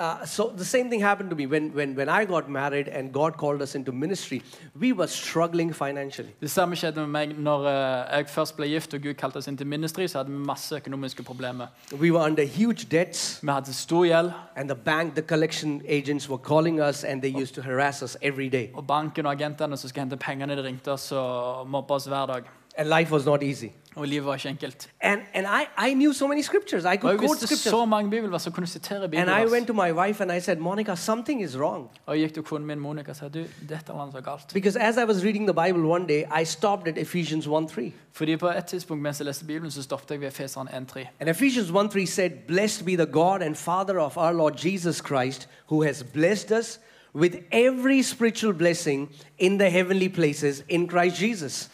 Speaker 1: Uh, so the same thing happened to me when, when, when I got married and God called us into ministry. We were struggling financially.
Speaker 2: Det samme skjedde med meg når eh, jeg først ble gift og Gud kalte oss inn til ministry, så hadde vi masse økonomiske problemer.
Speaker 1: We were under huge debts,
Speaker 2: Vi hadde stor gjeld,
Speaker 1: and the bank, the collection agents were calling us, and they used to harass us every day.
Speaker 2: og banken og agentene som skulle hente pengene, de ringte oss og mobba oss hver dag.
Speaker 1: And life was not easy.
Speaker 2: Og livet var ikke enkelt.
Speaker 1: And, and I, I knew so many scriptures. I
Speaker 2: Og
Speaker 1: could
Speaker 2: jeg
Speaker 1: quote
Speaker 2: visste
Speaker 1: scriptures.
Speaker 2: så mange bibelvers og kunne sitere
Speaker 1: And I went
Speaker 2: bibelvers.
Speaker 1: to my wife and I said, Monica, something is wrong.
Speaker 2: Og jeg gikk til konen min Monica og sa du, dette var noe som er galt.
Speaker 1: Because as I was reading the Bible one day, I stopped at Ephesians 1 3.
Speaker 2: Fordi på et tidspunkt mens jeg leste Bibelen, så stoppet jeg ved Efeseren 1.3.
Speaker 1: And Ephesians 1 3 said, Blessed be the God and Father of our Lord Jesus Christ, who has blessed us with every spiritual blessing in the heavenly places in Christ Jesus.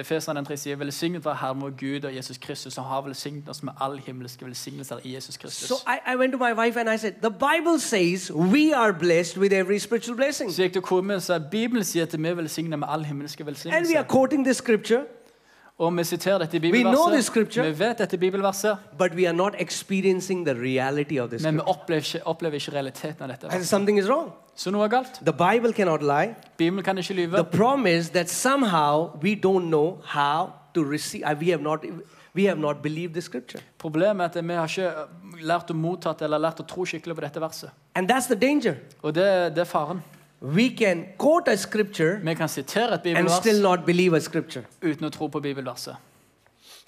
Speaker 2: Efeseren 1.3 sier velsignet være Herren vår Gud og Jesus Kristus, som har velsignet oss med all himmelske velsignelser i Jesus Kristus.
Speaker 1: So I, I went to my wife and I said, The Bible says we are blessed with every spiritual blessing.
Speaker 2: Så gikk det kone min og sa Bibelen sier at vi er velsignet med all himmelske
Speaker 1: And we are
Speaker 2: velsignelse.
Speaker 1: quoting this scripture,
Speaker 2: Og vi siterer dette i
Speaker 1: know this
Speaker 2: bibelverset.
Speaker 1: scripture.
Speaker 2: Vi vet dette bibelverset,
Speaker 1: but we are not experiencing the reality of this.
Speaker 2: men vi
Speaker 1: scripture.
Speaker 2: opplever ikke, opplever ikke realiteten av dette.
Speaker 1: And something is wrong.
Speaker 2: Så noe er galt.
Speaker 1: The Bible cannot lie.
Speaker 2: Bibelen kan ikke lyve.
Speaker 1: The problem is that somehow we don't know how to receive. uh, We have not, we have not believed the scripture,
Speaker 2: Problemet er at vi har ikke eh, lært å motta det, eller lært å tro skikkelig på dette verset.
Speaker 1: and that's the danger.
Speaker 2: Og det, det er faren.
Speaker 1: We can quote a scripture
Speaker 2: Vi kan sitere et
Speaker 1: and still
Speaker 2: bibelvers
Speaker 1: not believe a scripture.
Speaker 2: uten å tro på bibelverset.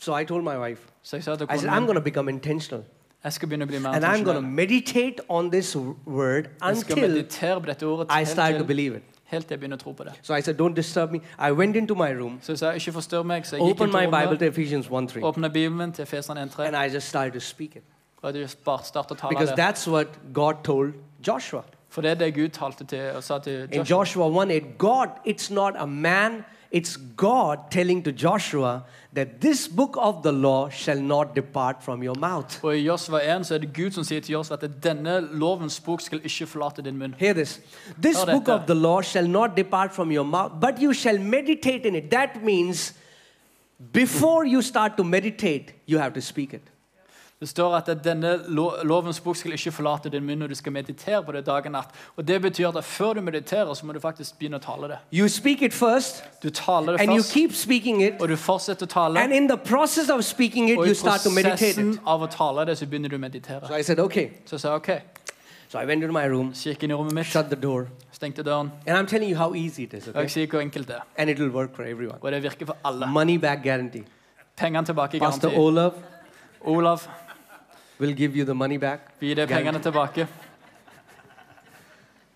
Speaker 1: So I told my wife,
Speaker 2: Så jeg sa til
Speaker 1: I said, I'm
Speaker 2: konen min
Speaker 1: going to become intentional,
Speaker 2: jeg skal begynne å bli mer
Speaker 1: and I'm going to
Speaker 2: intensjonell.
Speaker 1: meditate on this w- word
Speaker 2: Jeg skal
Speaker 1: until
Speaker 2: meditere på dette ordet
Speaker 1: I
Speaker 2: helt
Speaker 1: start to
Speaker 2: til,
Speaker 1: believe it.
Speaker 2: helt til jeg begynner å tro på det.
Speaker 1: So I said, don't disturb me. I went into my room,
Speaker 2: Så jeg sa ikke forstyrr meg, så jeg gikk
Speaker 1: opened
Speaker 2: inn
Speaker 1: my
Speaker 2: til
Speaker 1: Bible
Speaker 2: rommet,
Speaker 1: to Ephesians 1 3,
Speaker 2: åpna Bibelen til Feseren 1.3.
Speaker 1: and I just started to speak it
Speaker 2: Og du bare starter å tale
Speaker 1: because
Speaker 2: det.
Speaker 1: that's what God told Joshua.
Speaker 2: For det er det Gud talte til og sa til
Speaker 1: In
Speaker 2: Joshua.
Speaker 1: Joshua 1 8, God, it's not a man, it's God telling to Joshua that this book of the law shall not depart from your mouth.
Speaker 2: Og i Josva 1 så er det Gud som sier til Josva at denne lovens bok skal ikke forlate din munn.
Speaker 1: Hear this. This
Speaker 2: Alright,
Speaker 1: book of
Speaker 2: uh,
Speaker 1: the law shall not depart from your mouth, but you shall meditate in it. That means before you start to meditate, you have to speak it.
Speaker 2: Det står at denne lo lovens bok skal ikke forlate din munn, og du skal meditere på det dag og natt. Og det betyr at før du mediterer, så må du faktisk begynne å tale det.
Speaker 1: You speak it first,
Speaker 2: Du taler det
Speaker 1: and you
Speaker 2: først,
Speaker 1: keep speaking it,
Speaker 2: og du fortsetter å tale.
Speaker 1: and in the process of speaking it,
Speaker 2: Og i
Speaker 1: you start to meditate
Speaker 2: prosessen
Speaker 1: it.
Speaker 2: av å tale det, så begynner du
Speaker 1: So
Speaker 2: å meditere.
Speaker 1: I said, okay.
Speaker 2: Så sa jeg OK.
Speaker 1: So I went into my room,
Speaker 2: Så gikk jeg inn i rommet mitt,
Speaker 1: shut the door,
Speaker 2: stengte døren,
Speaker 1: and I'm telling you how easy it is,
Speaker 2: og
Speaker 1: okay?
Speaker 2: jeg sier hvor enkelt det er.
Speaker 1: and it will work for everyone.
Speaker 2: Og det virker for alle.
Speaker 1: Money back guarantee.
Speaker 2: Pengene tilbake i
Speaker 1: Pastor
Speaker 2: garanti.
Speaker 1: Olav
Speaker 2: Olav,
Speaker 1: will give you the money back.
Speaker 2: vi gir deg
Speaker 1: Guarantee.
Speaker 2: pengene tilbake.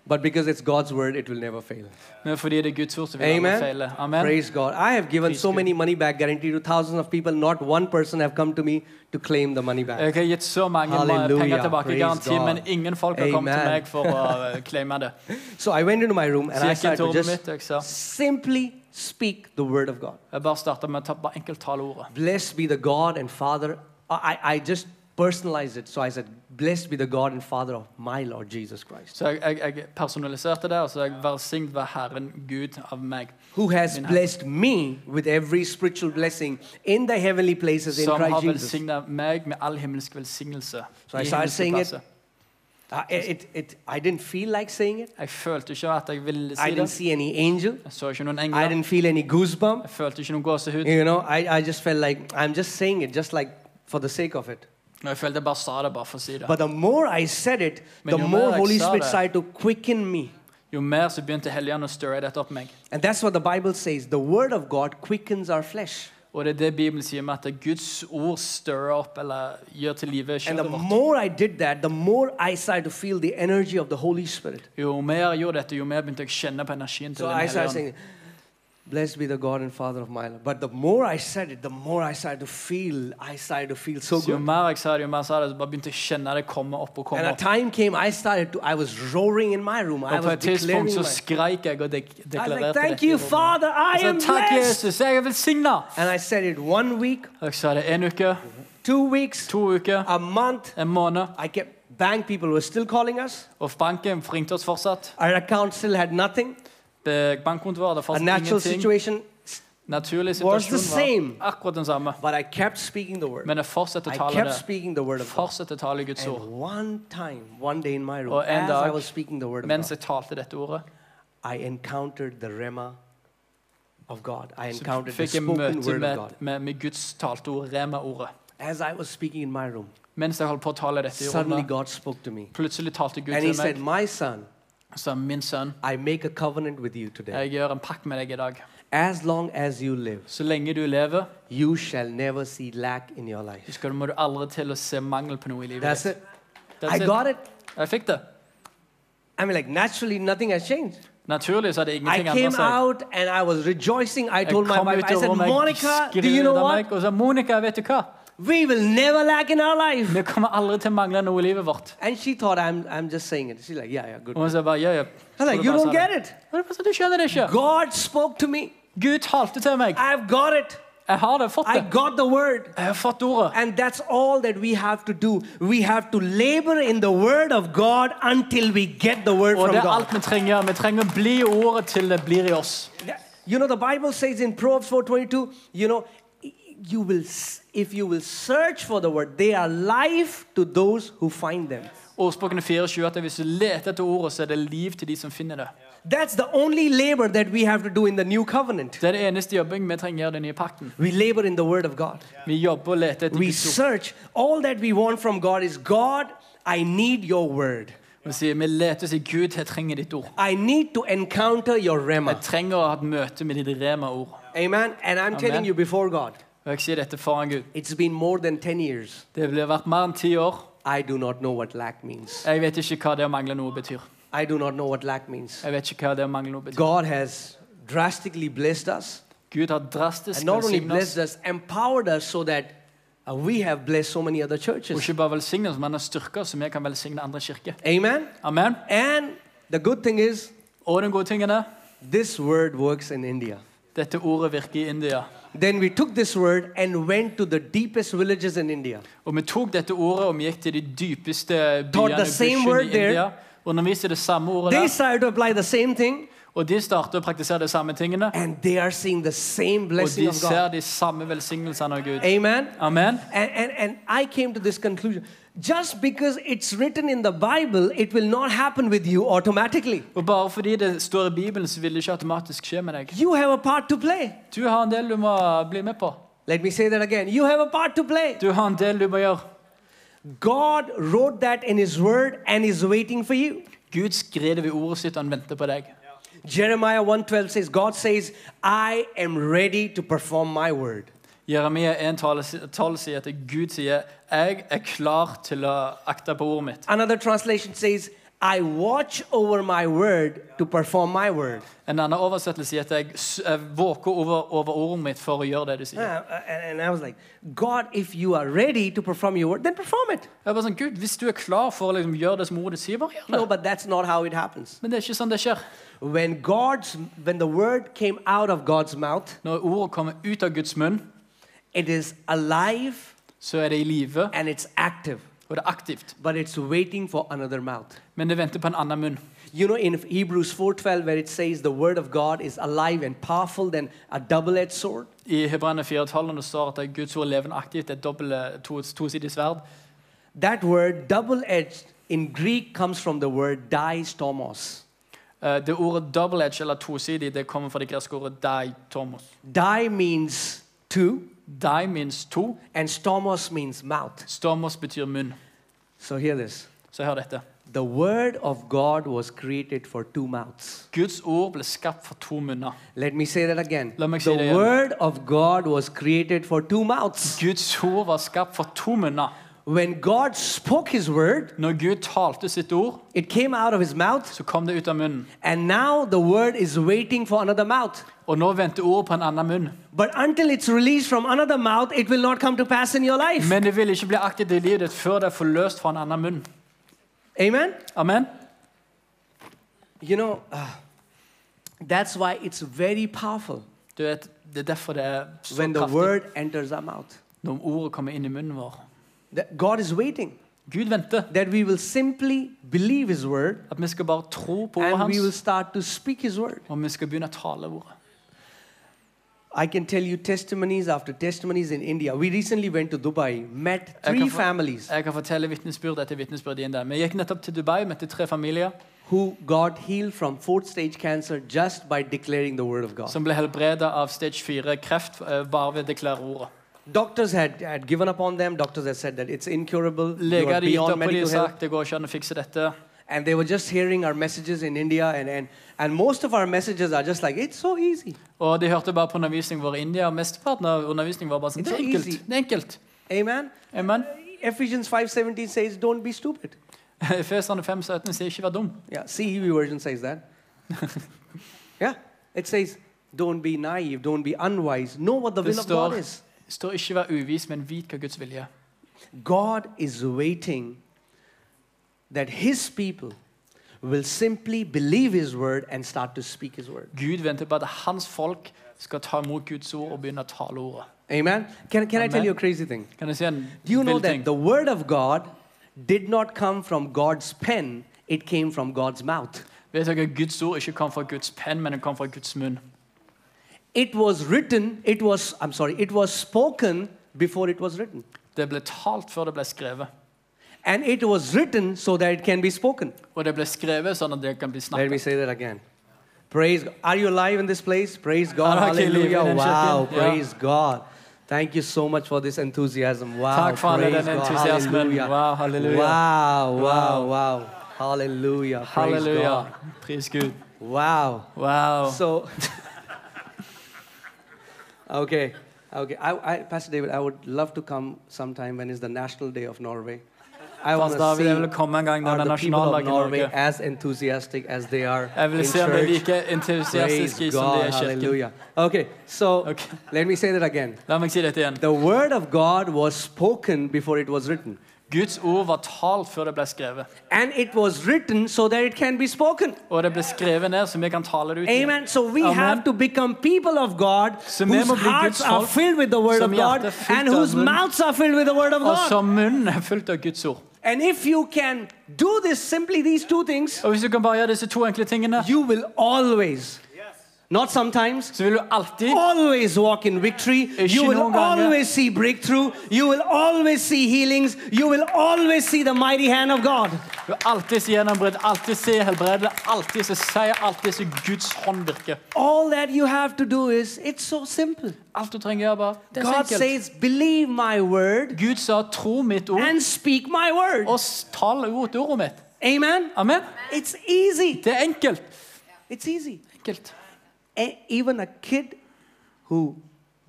Speaker 1: But because it's God's word, it will never fail.
Speaker 2: Men fordi det er Guds ord, så vil
Speaker 1: Amen.
Speaker 2: alle feile. Amen.
Speaker 1: Praise God. I have given
Speaker 2: Praise
Speaker 1: so
Speaker 2: God.
Speaker 1: many money back guarantee to thousands of people. Not one person have come to me to claim the money back.
Speaker 2: Jeg har gitt så mange
Speaker 1: Halleluja.
Speaker 2: penger tilbake i
Speaker 1: Praise
Speaker 2: garanti,
Speaker 1: God.
Speaker 2: men ingen folk har kommet til
Speaker 1: Amen.
Speaker 2: meg for å eh, claime det.
Speaker 1: So I went into my room and
Speaker 2: Så
Speaker 1: I
Speaker 2: jeg gikk
Speaker 1: started
Speaker 2: inn til
Speaker 1: to
Speaker 2: rommet mitt
Speaker 1: just
Speaker 2: og jeg sa
Speaker 1: simply speak the word of God.
Speaker 2: Jeg bare starta med å ta bare enkelt tale ordet.
Speaker 1: Blessed be the God and Father. I, I I just personalized it. So I said, Blessed be the God and Father of my Lord Jesus Christ,
Speaker 2: Så jeg, jeg, jeg personaliserte det, og så jeg velsignet være Herren Gud av meg,
Speaker 1: who has
Speaker 2: Amen.
Speaker 1: blessed me with every spiritual blessing in the heavenly places in
Speaker 2: som har
Speaker 1: Christ Jesus.
Speaker 2: velsignet meg med all himmelsk velsignelse.
Speaker 1: So I
Speaker 2: i
Speaker 1: started
Speaker 2: himmelske
Speaker 1: saying it.
Speaker 2: plasser.
Speaker 1: Uh, it, it, it, I didn't feel like saying it.
Speaker 2: Jeg følte ikke at jeg ville
Speaker 1: I
Speaker 2: si det.
Speaker 1: didn't see any angel.
Speaker 2: Jeg så ikke noen
Speaker 1: I
Speaker 2: engler.
Speaker 1: didn't feel any goosebump.
Speaker 2: Jeg følte ikke noen gåsehud.
Speaker 1: You know, I, I just felt like I'm just saying it, just like for the sake of it.
Speaker 2: Og jeg følte jeg bare sa det bare for å si det.
Speaker 1: But the more I said it, the
Speaker 2: Men jo
Speaker 1: more
Speaker 2: mer jeg
Speaker 1: Holy
Speaker 2: sa
Speaker 1: Spirit
Speaker 2: det-
Speaker 1: started to quicken me.
Speaker 2: Jo mer så begynte Helligånden å stirre dette opp meg.
Speaker 1: And that's what the Bible says the Word of God quickens our flesh.
Speaker 2: Og det er det Bibelen sier med at Guds ord stirrer opp eller gjør til live
Speaker 1: And the
Speaker 2: kjøttet vårt.
Speaker 1: more I did that, the more I started to feel the energy of the Holy Spirit.
Speaker 2: Jo mer jeg gjorde dette, jo mer begynte jeg å kjenne på energien til
Speaker 1: So
Speaker 2: Den
Speaker 1: I
Speaker 2: hellige
Speaker 1: started
Speaker 2: ånd.
Speaker 1: saying, Blessed be the God and Father of my Lord. But the more I said it, the more I started to feel, I started to feel so
Speaker 2: Så jo
Speaker 1: good.
Speaker 2: mer jeg sa det, jo mer jeg sa det, så bare begynte jeg å kjenne det komme opp og
Speaker 1: And
Speaker 2: komme
Speaker 1: a
Speaker 2: opp.
Speaker 1: time came, I started to, I was roaring in my room. I
Speaker 2: Og på
Speaker 1: was
Speaker 2: et tidspunkt
Speaker 1: declaring
Speaker 2: så
Speaker 1: my,
Speaker 2: skreik jeg og dek
Speaker 1: I was
Speaker 2: deklarerte
Speaker 1: like,
Speaker 2: dette
Speaker 1: thank
Speaker 2: i
Speaker 1: you,
Speaker 2: rommet.
Speaker 1: Father, I
Speaker 2: Jeg sa,
Speaker 1: am
Speaker 2: Takk,
Speaker 1: blessed.
Speaker 2: Jesus, jeg er velsigna.
Speaker 1: And I said it one week,
Speaker 2: Og jeg sa det en uke,
Speaker 1: two weeks,
Speaker 2: to uker,
Speaker 1: a month.
Speaker 2: en måned.
Speaker 1: I kept, bank people were still calling us.
Speaker 2: Og banken ringte oss fortsatt.
Speaker 1: Our account still had nothing.
Speaker 2: Det- Bankkontoret var det
Speaker 1: A
Speaker 2: fortsatt
Speaker 1: natural
Speaker 2: ingenting.
Speaker 1: situation.
Speaker 2: Naturlig
Speaker 1: was the
Speaker 2: situasjon
Speaker 1: same.
Speaker 2: var akkurat den samme.
Speaker 1: But I kept speaking the word.
Speaker 2: Men jeg fortsatte
Speaker 1: I
Speaker 2: å tale
Speaker 1: kept
Speaker 2: det.
Speaker 1: speaking the word of God.
Speaker 2: Fortsatte å tale Guds
Speaker 1: And
Speaker 2: ord.
Speaker 1: one time, one day in my room,
Speaker 2: Og en
Speaker 1: as I
Speaker 2: dag,
Speaker 1: was speaking Oh, the word of
Speaker 2: Mens
Speaker 1: God,
Speaker 2: jeg talte dette ordet,
Speaker 1: I encountered the Rema of God. I
Speaker 2: så
Speaker 1: encountered the
Speaker 2: fikk jeg
Speaker 1: spoken
Speaker 2: møte
Speaker 1: word of God.
Speaker 2: med, med, med Guds talte ord, Rema-ordet.
Speaker 1: As I was speaking in my room,
Speaker 2: Mens jeg holdt på å tale dette i
Speaker 1: suddenly
Speaker 2: rommet,
Speaker 1: God spoke to me.
Speaker 2: plutselig talte Gud
Speaker 1: And He
Speaker 2: til
Speaker 1: said,
Speaker 2: meg
Speaker 1: My son,
Speaker 2: og sa, min sønn,
Speaker 1: I make a covenant with you today.
Speaker 2: jeg gjør en pakt med deg i dag.
Speaker 1: As long as you live,
Speaker 2: Så lenge du lever,
Speaker 1: you shall never see lack in your life.
Speaker 2: husker du, må du aldri til å se mangel på noe i livet.
Speaker 1: That's
Speaker 2: ditt.
Speaker 1: it.
Speaker 2: That's
Speaker 1: I
Speaker 2: it.
Speaker 1: got it.
Speaker 2: Jeg fikk det.
Speaker 1: I mean, like, naturally, nothing has changed.
Speaker 2: Naturlig så hadde
Speaker 1: I
Speaker 2: ingenting
Speaker 1: came
Speaker 2: endret seg.
Speaker 1: out and I was rejoicing. I
Speaker 2: Jeg
Speaker 1: told my
Speaker 2: kom
Speaker 1: wife,
Speaker 2: ut
Speaker 1: I
Speaker 2: av
Speaker 1: said,
Speaker 2: rommet, jeg
Speaker 1: Monica, do you
Speaker 2: skrudde
Speaker 1: know
Speaker 2: av
Speaker 1: what?
Speaker 2: meg, og sa, Monica, vet du hva?
Speaker 1: We will never lack in our life.
Speaker 2: Vi kommer aldri til å mangle noe i livet vårt.
Speaker 1: And she thought I'm, I'm just saying it. She's like, yeah, yeah, good.
Speaker 2: Og hun sa bare, ja, ja.
Speaker 1: I'm like, you don't get it.
Speaker 2: Du skjønner det ikke.
Speaker 1: God spoke to me.
Speaker 2: Gud talte til meg.
Speaker 1: I've got it.
Speaker 2: Jeg har det, fått
Speaker 1: I
Speaker 2: det.
Speaker 1: got the word.
Speaker 2: Jeg har fått ordet.
Speaker 1: And that's all that we have to do. We have to labor in the word of God until we get the word
Speaker 2: Og
Speaker 1: from
Speaker 2: det er
Speaker 1: God.
Speaker 2: alt vi trenger. Vi trenger å bli i ordet til det blir i oss.
Speaker 1: You know, the Bible says in Proverbs 4.22, you know, you will, s- if you will search for the word, they are life to those who find them.
Speaker 2: Ordspråkene 4.20 at hvis du leter etter ordet, så er det liv til de som finner det.
Speaker 1: That's the only labor that we have to do in the new covenant.
Speaker 2: Det er det eneste jobbing vi trenger i den nye pakten.
Speaker 1: We labor in the word of God.
Speaker 2: Vi jobber og leter etter
Speaker 1: We
Speaker 2: Guds ord.
Speaker 1: search. All that we want from God is God, I need your word.
Speaker 2: Vi sier, vi leter og sier, Gud, jeg trenger ditt ord.
Speaker 1: I need to encounter your
Speaker 2: Jeg
Speaker 1: Rema.
Speaker 2: trenger å ha et møte med ditt rema-ord.
Speaker 1: Amen. And I'm telling you before God,
Speaker 2: Og jeg sier dette foran Gud.
Speaker 1: it's been more than 10 years.
Speaker 2: Det blir vært mer enn ti år.
Speaker 1: I do not know what lack means.
Speaker 2: Jeg vet ikke hva det å mangle noe betyr.
Speaker 1: I do not know what lack means.
Speaker 2: Jeg vet ikke hva det å mangle noe betyr.
Speaker 1: God has drastically blessed us.
Speaker 2: Gud har drastisk
Speaker 1: And not only
Speaker 2: velsignet oss.
Speaker 1: blessed us, empowered us so that uh, we have blessed so many other
Speaker 2: Og
Speaker 1: churches.
Speaker 2: ikke bare velsigne oss, men han har styrket oss, så vi kan velsigne andre kirker.
Speaker 1: Amen.
Speaker 2: Amen.
Speaker 1: And the good thing is,
Speaker 2: Og den gode tingen er
Speaker 1: this word works in India.
Speaker 2: dette ordet virker i India.
Speaker 1: Then we took this word and went to the deepest villages in India.
Speaker 2: Og vi tok dette ordet og vi gikk til de dypeste
Speaker 1: Taught
Speaker 2: byene
Speaker 1: the same
Speaker 2: bushene i
Speaker 1: word there.
Speaker 2: India. Underviste det samme ordet
Speaker 1: They
Speaker 2: der.
Speaker 1: started to apply the same thing
Speaker 2: Og de starter å praktisere de samme tingene.
Speaker 1: and they are seeing the same
Speaker 2: Og
Speaker 1: blessing
Speaker 2: de
Speaker 1: of
Speaker 2: ser
Speaker 1: God.
Speaker 2: de samme velsignelsene av Gud.
Speaker 1: Amen.
Speaker 2: Amen.
Speaker 1: And, and, and I came to this conclusion. Just because it's written in the Bible, it will not happen with you automatically.
Speaker 2: Og bare fordi det står i Bibelen, så vil det ikke automatisk skje med deg.
Speaker 1: You have a part to play.
Speaker 2: Du har en del du må bli med på.
Speaker 1: Let me say that again. You have a part to play.
Speaker 2: Du har en del du må gjøre.
Speaker 1: God wrote that in His Word and is waiting for you.
Speaker 2: Gud skrev det ved ordet sitt, og han venter på deg.
Speaker 1: Jeremiah 1:12 says, God says, I am ready to perform my word.
Speaker 2: Jeremia 1,12 sier at Gud sier 'Jeg er klar til å akte på ordet mitt'.
Speaker 1: Another translation says, I watch over my word to perform my word.
Speaker 2: En annen oversettelse sier at 'jeg s- jeg våker over, over ordet mitt for å gjøre det du sier'.
Speaker 1: Uh, and and I was like, God, if you are ready to perform your word, then perform it.
Speaker 2: Jeg er bare sånn, Gud, Hvis du er klar for å liksom gjøre det som ordet sier, bare gjør
Speaker 1: No,
Speaker 2: det.
Speaker 1: but that's not how it happens.
Speaker 2: Men det er ikke sånn det skjer.
Speaker 1: When God's when the word came out of God's mouth,
Speaker 2: Når ordet kommer ut av Guds munn,
Speaker 1: it is alive
Speaker 2: så er det i live,
Speaker 1: and it's active,
Speaker 2: og det er aktivt.
Speaker 1: but it's waiting for another mouth.
Speaker 2: Men det venter på en annen munn.
Speaker 1: You know in Hebrews 4:12 where it says the word of God is alive and powerful than a double-edged sword.
Speaker 2: I Hebreane 4,12 når det står at Guds ord er levende aktivt, det er et dobbelt, to, tosidig sverd.
Speaker 1: That word double-edged in Greek comes from the word diastomos.
Speaker 2: Eh, Det ordet 'double edge', eller tosidig, det kommer fra det greske ordet 'dai tomos'.
Speaker 1: Di means two
Speaker 2: Dai means to.
Speaker 1: and stomos means mouth.
Speaker 2: Stormos betyr munn.
Speaker 1: So hear this.
Speaker 2: Så hør dette.
Speaker 1: The word of God was created for two mouths.
Speaker 2: Guds ord ble skapt for to munner.
Speaker 1: Let me say that again.
Speaker 2: Let me
Speaker 1: the
Speaker 2: say that again.
Speaker 1: word of God was created for two mouths.
Speaker 2: Guds ord var skapt for to munner.
Speaker 1: When God spoke his word,
Speaker 2: Når Gud talte sitt ord,
Speaker 1: it came out of his mouth,
Speaker 2: så kom det ut av munnen.
Speaker 1: and now the word is waiting for another mouth.
Speaker 2: Og nå venter ordet på en annen munn.
Speaker 1: But until it's released from another mouth, it will not come to pass in your life.
Speaker 2: Men det vil ikke bli aktivt i livet ditt før det er forløst fra en annen munn.
Speaker 1: Amen?
Speaker 2: Amen.
Speaker 1: You know, ah, that's why it's very powerful
Speaker 2: Du vet, Det er derfor det er så
Speaker 1: when the
Speaker 2: kraftig
Speaker 1: word enters our mouth.
Speaker 2: når ordet kommer inn i munnen vår.
Speaker 1: That God is waiting
Speaker 2: Gud venter
Speaker 1: that we will simply believe his word
Speaker 2: at vi skal bare tro på ordet
Speaker 1: and we will
Speaker 2: hans,
Speaker 1: start to speak his word.
Speaker 2: og vi skal begynne å tale ordet.
Speaker 1: I can tell you testimonies after testimonies in India. We recently went to Dubai, met
Speaker 2: I
Speaker 1: three
Speaker 2: can fo-
Speaker 1: families
Speaker 2: Jeg kan fortelle vitnesbyrd etter vitnesbyrd igjen der. Vi gikk nettopp til Dubai, møtte tre familier
Speaker 1: who got healed from fourth stage cancer just by declaring the word of God.
Speaker 2: som ble helbreda av stage 4 kreft eh, bare ved å deklare ordet.
Speaker 1: Doctors had, had given up on them. Doctors had said that it's incurable. You
Speaker 2: Leger
Speaker 1: are
Speaker 2: hadde gitt
Speaker 1: beyond
Speaker 2: opp på de og
Speaker 1: medical health.
Speaker 2: sagt det går ikke an å fikse dette.
Speaker 1: And they were just hearing our messages in India. And, and, and most of our messages are just like, it's so easy.
Speaker 2: Og de hørte bare på undervisningen vår i India, og mesteparten av undervisningen var bare sånn
Speaker 1: It's
Speaker 2: Det er
Speaker 1: so
Speaker 2: enkelt.
Speaker 1: easy.
Speaker 2: Det er enkelt.
Speaker 1: Amen.
Speaker 2: Amen.
Speaker 1: Ephesians 5.17 says, don't be stupid.
Speaker 2: Efeserne 5, 17 sier ikke vær dum.
Speaker 1: Yeah, CEV version says that. yeah, it says, don't be naive, don't be unwise. Know what the
Speaker 2: Det
Speaker 1: will of God
Speaker 2: står-
Speaker 1: is.
Speaker 2: Står ikke vær uvis, men vit hva Guds vilje er.
Speaker 1: God is waiting that His people will simply believe His word and start to speak His word.
Speaker 2: Gud venter på at hans folk skal ta imot Guds ord og begynne å tale ordet.
Speaker 1: Amen? Can, can I tell
Speaker 2: Amen.
Speaker 1: you a crazy thing?
Speaker 2: Kan jeg si en
Speaker 1: Do you know
Speaker 2: vill
Speaker 1: that
Speaker 2: ting?
Speaker 1: the word of God did not come from God's pen, it came from God's mouth?
Speaker 2: Vet dere, Guds ord ikke kom fra Guds penn, men det kom fra Guds munn.
Speaker 1: It was written, it was, I'm sorry, it was spoken before it was written.
Speaker 2: Det ble talt før det ble skrevet.
Speaker 1: And it was written so that it can be spoken.
Speaker 2: Og det ble skrevet sånn at det kan bli
Speaker 1: Let me
Speaker 2: snakket.
Speaker 1: say that again. Praise God. Are you alive in this place? Praise God.
Speaker 2: Are you alive
Speaker 1: Hallelujah.
Speaker 2: in this
Speaker 1: Wow.
Speaker 2: place? Yeah.
Speaker 1: Praise God. Thank you so much for this enthusiasm. Wow.
Speaker 2: Tack för all
Speaker 1: praise
Speaker 2: den
Speaker 1: God.
Speaker 2: entusiasmen.
Speaker 1: Hallelujah.
Speaker 2: Wow, hallelujah.
Speaker 1: Wow. Wow.
Speaker 2: Wow.
Speaker 1: Wow. Hallelujah. Praise
Speaker 2: Halleluja.
Speaker 1: God.
Speaker 2: Pris Gud.
Speaker 1: Wow.
Speaker 2: Wow.
Speaker 1: So, okay. Okay. I, I, Pastor David, I would love to come sometime when is the National Day of Norway. I want
Speaker 2: Pastor
Speaker 1: to
Speaker 2: David,
Speaker 1: see
Speaker 2: jeg vil komme en gang når
Speaker 1: are
Speaker 2: det er
Speaker 1: the people of
Speaker 2: nasjonaldagen i
Speaker 1: Norway
Speaker 2: Norge.
Speaker 1: as enthusiastic as they are
Speaker 2: Jeg vil
Speaker 1: in
Speaker 2: se om de er
Speaker 1: church?
Speaker 2: like entusiastiske
Speaker 1: Praise
Speaker 2: som de
Speaker 1: God,
Speaker 2: er i kirken.
Speaker 1: hallelujah. Okay, so
Speaker 2: Okay.
Speaker 1: let me say that again.
Speaker 2: La meg si dette igjen.
Speaker 1: The word of God was spoken before it was written.
Speaker 2: Guds ord var talt før det ble skrevet.
Speaker 1: And it was written so that it can be spoken.
Speaker 2: Og det ble skrevet ned, så vi kan tale det ut. igjen.
Speaker 1: Amen. So we
Speaker 2: Amen.
Speaker 1: have to become people of God
Speaker 2: Som
Speaker 1: whose
Speaker 2: må bli
Speaker 1: hearts
Speaker 2: Guds
Speaker 1: are
Speaker 2: folk,
Speaker 1: filled with the word
Speaker 2: som
Speaker 1: of God
Speaker 2: hjerte fyllt
Speaker 1: and
Speaker 2: av
Speaker 1: whose
Speaker 2: munn.
Speaker 1: mouths are filled with the word of
Speaker 2: Og
Speaker 1: God.
Speaker 2: så munnen er fullt av Guds ord.
Speaker 1: And if you can do this, simply these two things,
Speaker 2: Og hvis du kan bare gjøre disse to enkle tingene,
Speaker 1: you will always, not sometimes,
Speaker 2: så vil du alltid
Speaker 1: always walk in victory. You
Speaker 2: noen
Speaker 1: will
Speaker 2: ganger.
Speaker 1: always see breakthrough. You will always see healings. You will always see the mighty hand of God.
Speaker 2: du vil alltid se gjennombrudd, alltid se helbredelse, alltid se seier, alltid se Guds hånd virke.
Speaker 1: All that you have to do is, it's so simple.
Speaker 2: Alt du trenger å gjøre, bare det er så
Speaker 1: God
Speaker 2: enkelt.
Speaker 1: says, believe my word
Speaker 2: Gud sa 'tro mitt ord',
Speaker 1: and speak my word.
Speaker 2: og s- tal ordet til ordet mitt.
Speaker 1: Amen.
Speaker 2: Amen.
Speaker 1: It's easy.
Speaker 2: Det er enkelt.
Speaker 1: It's easy.
Speaker 2: Enkelt.
Speaker 1: E- even a kid who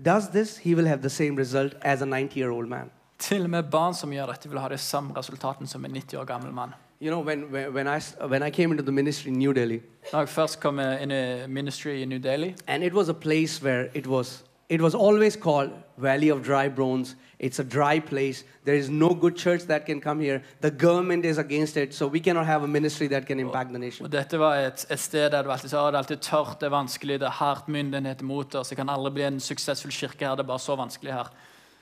Speaker 1: does this, he will have the same result as a 90 year old man.
Speaker 2: Til og med barn som gjør dette, vil ha det samme resultaten som en 90 år gammel mann.
Speaker 1: You know, when, when, when, I, s- when I came into the ministry in New Delhi,
Speaker 2: Da jeg først kom eh, inn i ministry i New Delhi,
Speaker 1: and it was a place where it was it was always called valley of dry bones it's a dry place there is no good church that can come here the government is against it so we cannot have a ministry that can impact the
Speaker 2: og
Speaker 1: nation
Speaker 2: dette var et, et sted der du alltid sa «Å, det er alltid tørt, det er vanskelig, det er hardt, myndighet er mot oss, det kan aldri bli en suksessfull kirke her, det er bare så vanskelig her.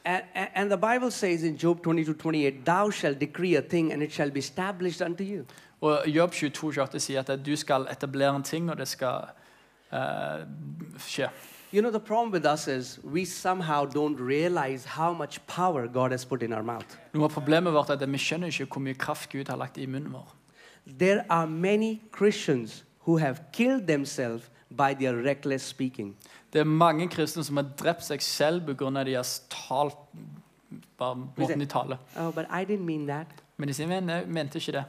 Speaker 1: and, and, and the bible says in job 22 28 thou shalt decree a thing and it shall be established unto you
Speaker 2: Og Jobb 22, 28 sier at du skal etablere en ting, og det skal eh, skje.
Speaker 1: you know the problem with us is we somehow don't realize how much power god has put in our mouth
Speaker 2: Noe av problemet vårt er at vi skjønner ikke hvor mye kraft Gud har lagt i munnen vår.
Speaker 1: there are many christians who have killed themselves by their reckless speaking
Speaker 2: Det er mange kristne som har drept seg selv pga. deres tal, bare måten de taler.
Speaker 1: oh but i didn't mean that
Speaker 2: Men de sier men jeg mente ikke det.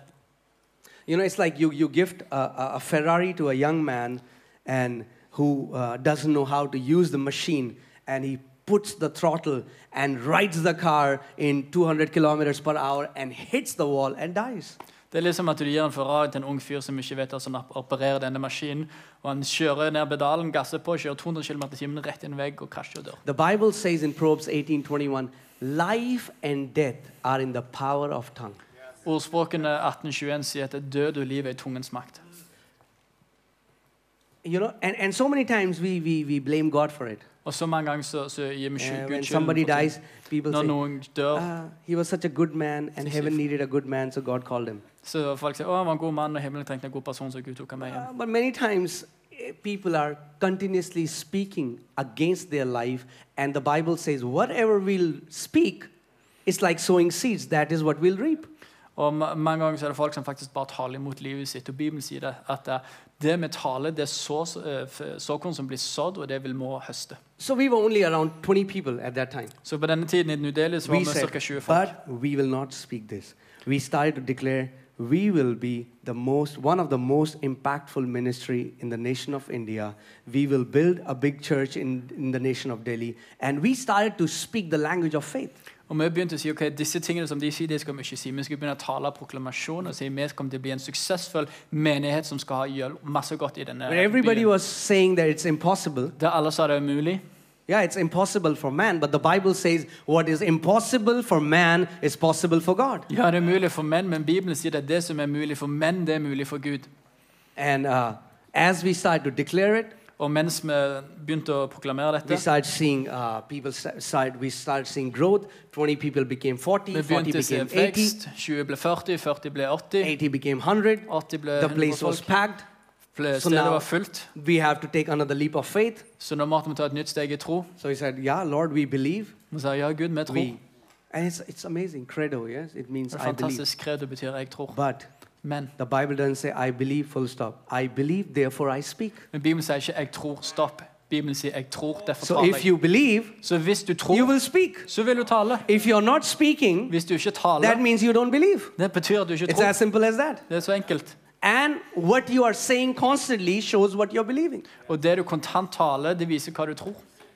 Speaker 1: You know, it's like you, you gift a, a, a Ferrari to a young man and who uh, doesn't know how to use the machine, and he puts the throttle and rides the car in 200 kilometers per hour and hits the wall and dies.
Speaker 2: Det er liksom at du gir en Ferrari til en ung fyr som ikke vet hvordan han opererer denne maskinen, og han kjører ned pedalen, gasser på, kjører 200 km i timen rett i en vegg og krasjer og dør.
Speaker 1: The Bible says in Proverbs 18:21, life and death are in the power of tongue.
Speaker 2: Ordspråkene 1821 sier at død og liv er i tungens makt.
Speaker 1: You know, and, and so many times we, we, we blame God for it.
Speaker 2: Og så mange ganger så, så gir vi
Speaker 1: Uh,
Speaker 2: skyld-
Speaker 1: when
Speaker 2: Gud
Speaker 1: somebody
Speaker 2: skylden. for ting.
Speaker 1: dies, people
Speaker 2: Når
Speaker 1: say,
Speaker 2: noen dør,
Speaker 1: "Ah, he was such a good man and heaven needed a good man, so God called him.
Speaker 2: så folk sier 'Å, han var en god mann, og himmelen trengte en god person, så Gud tok ham med hjem'.
Speaker 1: Uh, but many times eh, people are continuously speaking against their life, and the Bible says, whatever we'll speak, it's like sowing seeds, that is what we'll reap.
Speaker 2: Og ma- mange ganger så er det folk som faktisk bare taler imot livet sitt. Og Bibelen sier det, at eh, det vi taler, det er så, eh, f- såkorn som blir sådd, og det vil vi høste.
Speaker 1: So we were only around 20 people at that time.
Speaker 2: Så på denne tiden i Nudelia så var
Speaker 1: We
Speaker 2: vi
Speaker 1: said,
Speaker 2: ca. 20 folk.
Speaker 1: but we will not speak this. We started to declare we will be the most, one of the most impactful ministry in the nation of India. We will build a big church in, in the nation of Delhi. And we started to speak the language of faith.
Speaker 2: Og vi begynte å si ok, disse tingene som de sier, det skal vi ikke si. Vi skulle begynne å tale proklamasjon og si vi kommer til å bli en suksessfull menighet som skal ha gjøre masse godt i denne
Speaker 1: When everybody
Speaker 2: byen.
Speaker 1: was saying that it's impossible,
Speaker 2: Der alle sa det er umulig.
Speaker 1: yeah, it's impossible for man, but the Bible says what is impossible for man is possible for God.
Speaker 2: Ja, det er mulig for menn, men Bibelen sier at det som er mulig for menn, det er mulig for Gud.
Speaker 1: And uh, as we started to declare it,
Speaker 2: Og mens vi begynte å proklamere
Speaker 1: We
Speaker 2: dette
Speaker 1: started seeing uh, people sta- started, we started seeing growth. 20 people became 40,
Speaker 2: Vi
Speaker 1: 40
Speaker 2: begynte å se
Speaker 1: became 80,
Speaker 2: vekst. 20 ble 40, 40 ble 80.
Speaker 1: 80 became 100.
Speaker 2: 80 ble
Speaker 1: The
Speaker 2: 100
Speaker 1: place was
Speaker 2: folk.
Speaker 1: packed.
Speaker 2: Ble-
Speaker 1: so
Speaker 2: Stedet
Speaker 1: now-
Speaker 2: var fullt.
Speaker 1: We have to take another leap of faith.
Speaker 2: Så nå måtte vi ta et nytt steg i tro.
Speaker 1: So he said, "Yeah, Lord, we believe.
Speaker 2: Vi sa ja, Gud, vi tror.
Speaker 1: We." And it's it's amazing. Credo, yes, it means
Speaker 2: Det er
Speaker 1: I believe.
Speaker 2: fantastisk kredo betyr 'jeg tror'.
Speaker 1: But
Speaker 2: Men
Speaker 1: the Bible doesn't say I believe full stop. I believe, therefore I speak.
Speaker 2: men Bibelen sier ikke 'jeg tror', stopp. Bibelen sier 'jeg tror', derfor
Speaker 1: So
Speaker 2: taler
Speaker 1: if
Speaker 2: jeg.
Speaker 1: you believe,
Speaker 2: Så hvis du tror,
Speaker 1: you will speak.
Speaker 2: så vil du tale.
Speaker 1: If you're not speaking,
Speaker 2: Hvis du ikke
Speaker 1: that
Speaker 2: taler,
Speaker 1: means you don't believe.
Speaker 2: det betyr at du ikke
Speaker 1: It's
Speaker 2: tror.
Speaker 1: as simple as that.
Speaker 2: Det er så enkelt.
Speaker 1: And what you are saying constantly shows what you're believing.
Speaker 2: Og det du kontant taler, det viser hva du tror.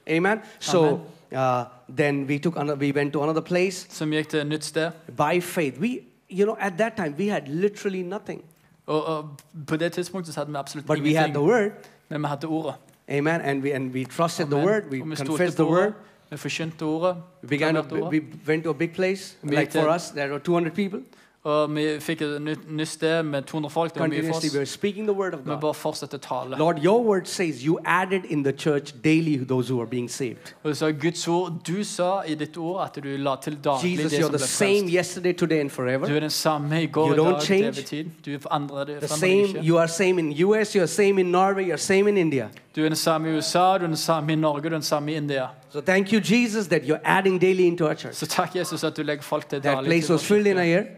Speaker 1: Amen. So uh, then we took another, we went to another place
Speaker 2: Som gikk til et nytt sted.
Speaker 1: by faith. We, you know, at that time we had literally nothing,
Speaker 2: Og, og på det tidspunktet så hadde vi absolutt
Speaker 1: but we had the
Speaker 2: ingenting.
Speaker 1: word.
Speaker 2: Men vi hadde ordet.
Speaker 1: Amen. And we and we trusted the
Speaker 2: Amen.
Speaker 1: word. We
Speaker 2: Og vi
Speaker 1: confessed
Speaker 2: stolte
Speaker 1: the
Speaker 2: på ordet.
Speaker 1: word.
Speaker 2: Vi forkynte ordet.
Speaker 1: We began
Speaker 2: proklamerte
Speaker 1: to,
Speaker 2: ordet.
Speaker 1: we went to a big place.
Speaker 2: Vi
Speaker 1: Like
Speaker 2: gikk
Speaker 1: for
Speaker 2: til-
Speaker 1: us, there were 200 people.
Speaker 2: Og vi fikk et nytt, nytt sted med 200 folk. Det var mye for
Speaker 1: Continuously, we
Speaker 2: oss.
Speaker 1: were speaking the word of
Speaker 2: Vi
Speaker 1: God.
Speaker 2: bare fortsatte å tale.
Speaker 1: Lord, your word says you added in the church daily those who are being saved.
Speaker 2: Og du sa Guds ord. Du sa i ditt ord at du la til daglig
Speaker 1: Oh, Jesus,
Speaker 2: det
Speaker 1: you're
Speaker 2: som
Speaker 1: the
Speaker 2: ble
Speaker 1: same
Speaker 2: frelst.
Speaker 1: yesterday, today, and
Speaker 2: Du
Speaker 1: forever.
Speaker 2: er den samme i
Speaker 1: You
Speaker 2: går, i
Speaker 1: don't
Speaker 2: dag, til
Speaker 1: change.
Speaker 2: evig tid. Du er forandrer det
Speaker 1: The
Speaker 2: forandrer
Speaker 1: same,
Speaker 2: deg ikke.
Speaker 1: you are same in US, you're same in Norway, you're same in India.
Speaker 2: Du er den samme i USA, du er den samme i Norge, du er den samme i India.
Speaker 1: So thank you, Jesus, that you're adding daily into our church.
Speaker 2: Så takk, Jesus, at du legger folk til
Speaker 1: That
Speaker 2: daglig.
Speaker 1: place
Speaker 2: til
Speaker 1: was filled in a year.
Speaker 2: vår-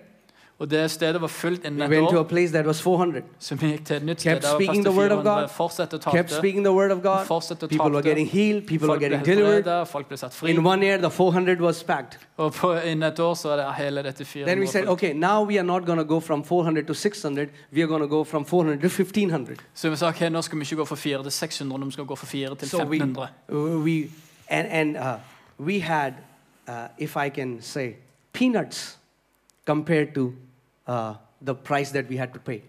Speaker 2: Og det stedet var fullt
Speaker 1: We
Speaker 2: innen et
Speaker 1: went to a
Speaker 2: år.
Speaker 1: place that was 400.
Speaker 2: Så vi gikk til et nytt sted.
Speaker 1: Kept
Speaker 2: Der var plass
Speaker 1: speaking
Speaker 2: til
Speaker 1: the word of
Speaker 2: 400.
Speaker 1: God.
Speaker 2: Fortsette å
Speaker 1: Kept
Speaker 2: tale.
Speaker 1: speaking the word of God.
Speaker 2: Fortsatte å
Speaker 1: People were
Speaker 2: talte.
Speaker 1: getting healed. People were
Speaker 2: Folk ble
Speaker 1: getting delivered.
Speaker 2: helbredet, folk ble satt fri.
Speaker 1: In one year, the 400 was packed.
Speaker 2: Og på, innen et år så er det hele dette
Speaker 1: Then we
Speaker 2: 400
Speaker 1: said,
Speaker 2: folk.
Speaker 1: okay, now we are not going to go from 400 to 600. We are going to go from 400 to 1500.
Speaker 2: Så vi sa ok, nå skal vi ikke gå fra 4 til 600, nå skal vi gå fra 4 til
Speaker 1: So we,
Speaker 2: 1500.
Speaker 1: we and, and uh, we had, uh, if I can say, peanuts compared to uh, the price that we had to pay.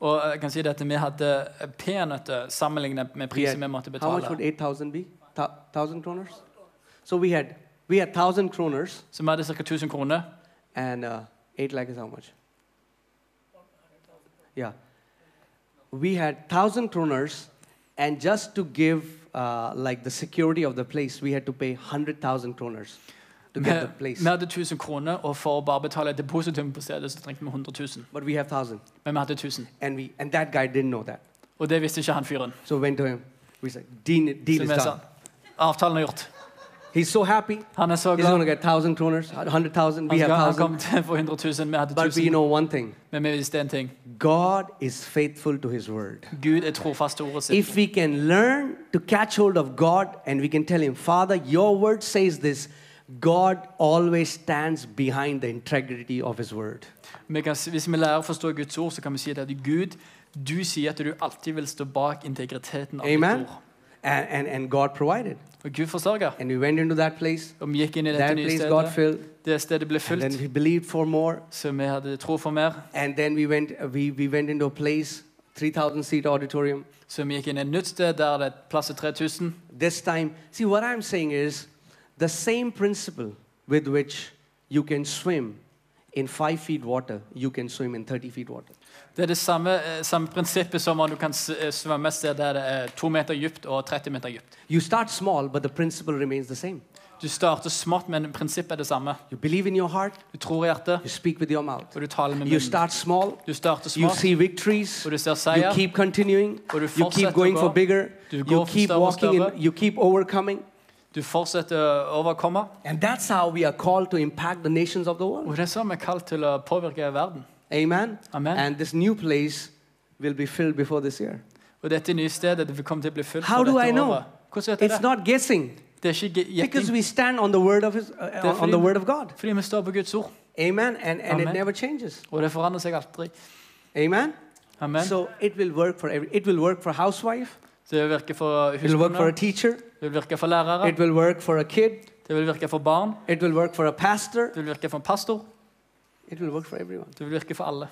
Speaker 2: Og jeg kan si det at vi hadde peanøtter sammenlignet med
Speaker 1: We
Speaker 2: prisen
Speaker 1: had-
Speaker 2: vi måtte
Speaker 1: How much would
Speaker 2: betale.
Speaker 1: 8,000 be? Thou- 1,000 kroners? So we had we had 1,000 kroners
Speaker 2: Så vi hadde ca. 1000 kroner.
Speaker 1: and uh, 8 lakh is how much? Yeah. We had 1,000 kroners and just to give uh, like the security of the place, we had to pay 100,000 kroners to
Speaker 2: Vi,
Speaker 1: get the place.
Speaker 2: vi hadde 1000 kroner, og for å bare betale depositum på stedet, så trengte vi 100 000.
Speaker 1: But we have 1,000
Speaker 2: Men vi hadde 1000.
Speaker 1: and we and that guy didn't know that.
Speaker 2: Og det visste ikke han fyren.
Speaker 1: So we went to him. We said, deal, deal
Speaker 2: Så
Speaker 1: is
Speaker 2: vi sa
Speaker 1: done.
Speaker 2: avtalen er gjort.
Speaker 1: He's so happy.
Speaker 2: Han er så
Speaker 1: He's going
Speaker 2: glad.
Speaker 1: to get 1,000 kroners, 100,000. We
Speaker 2: Han,
Speaker 1: have
Speaker 2: skal, han
Speaker 1: 1,000.
Speaker 2: kom til å få 100 000, vi hadde
Speaker 1: But we
Speaker 2: 1000.
Speaker 1: know one thing.
Speaker 2: Men vi visste en ting.
Speaker 1: God is faithful to his word.
Speaker 2: Gud er trofast til ordet sitt.
Speaker 1: If we can learn to catch hold of God and we can tell him, Father, your word says this, God always stands behind the integrity of his word.
Speaker 2: Vi kan, hvis vi lærer å forstå Guds ord, så kan vi si det at Gud, du sier at du alltid vil stå bak integriteten av
Speaker 1: Amen.
Speaker 2: ditt ord.
Speaker 1: and, and, and God provided.
Speaker 2: Og Gud forsørger.
Speaker 1: And we went into that place.
Speaker 2: Og vi gikk inn i dette
Speaker 1: That
Speaker 2: nye
Speaker 1: place got
Speaker 2: stedet.
Speaker 1: filled.
Speaker 2: Det stedet ble
Speaker 1: And then
Speaker 2: fulgt,
Speaker 1: we believed for more.
Speaker 2: så vi hadde tro for mer.
Speaker 1: And then we went, uh, we, we went into a place, 3,000 seat auditorium.
Speaker 2: Så vi gikk inn i et nytt sted der det plasser 3000.
Speaker 1: This time, see what I'm saying is the same principle with which you can swim in five feet water, you can swim in 30 feet water.
Speaker 2: Det er det samme, eh, samme prinsippet som om du kan s- eh, svømme et sted der det er to meter dypt og 30 meter dypt.
Speaker 1: You start small, but the principle remains the same.
Speaker 2: Du starter smått, men prinsippet er det samme.
Speaker 1: You believe in your heart,
Speaker 2: Du tror i hjertet,
Speaker 1: you speak with your mouth.
Speaker 2: og du taler med
Speaker 1: You
Speaker 2: munnen.
Speaker 1: start small,
Speaker 2: Du starter
Speaker 1: you
Speaker 2: smått,
Speaker 1: see victories,
Speaker 2: og du ser
Speaker 1: you
Speaker 2: seier.
Speaker 1: keep continuing,
Speaker 2: Og du
Speaker 1: you
Speaker 2: fortsetter
Speaker 1: keep
Speaker 2: å
Speaker 1: going for
Speaker 2: gå.
Speaker 1: bigger,
Speaker 2: Du
Speaker 1: you
Speaker 2: går for
Speaker 1: keep
Speaker 2: større og
Speaker 1: walking,
Speaker 2: større.
Speaker 1: and you keep overcoming.
Speaker 2: Du fortsetter å overkomme.
Speaker 1: And that's how we are called to impact the nations of the world.
Speaker 2: Og det er sånn vi er kalt til å påvirke verden.
Speaker 1: Amen.
Speaker 2: Amen.
Speaker 1: And this new place will be filled before this year.
Speaker 2: Og dette nye stedet det vil komme til å bli fulgt
Speaker 1: How
Speaker 2: for
Speaker 1: do
Speaker 2: dette
Speaker 1: I know?
Speaker 2: året. Hvordan vet jeg
Speaker 1: It's
Speaker 2: det?
Speaker 1: not guessing
Speaker 2: Det er ikke ge-
Speaker 1: because
Speaker 2: gjetting.
Speaker 1: we stand on the word of his, uh,
Speaker 2: Definitely.
Speaker 1: on the word of God.
Speaker 2: Fordi vi står på Guds ord,
Speaker 1: Amen. And, and it
Speaker 2: Amen.
Speaker 1: never changes.
Speaker 2: og det forandrer seg aldri.
Speaker 1: Amen.
Speaker 2: Amen.
Speaker 1: So it will work for every, it will work for housewife,
Speaker 2: det virker for
Speaker 1: it will work for a
Speaker 2: husbonder,
Speaker 1: teacher,
Speaker 2: det vil virke for lærere,
Speaker 1: it will work for a kid,
Speaker 2: det vil virke for barn,
Speaker 1: it will work for a pastor,
Speaker 2: det vil virke for en pastor,
Speaker 1: it will work for everyone.
Speaker 2: det vil virke for alle.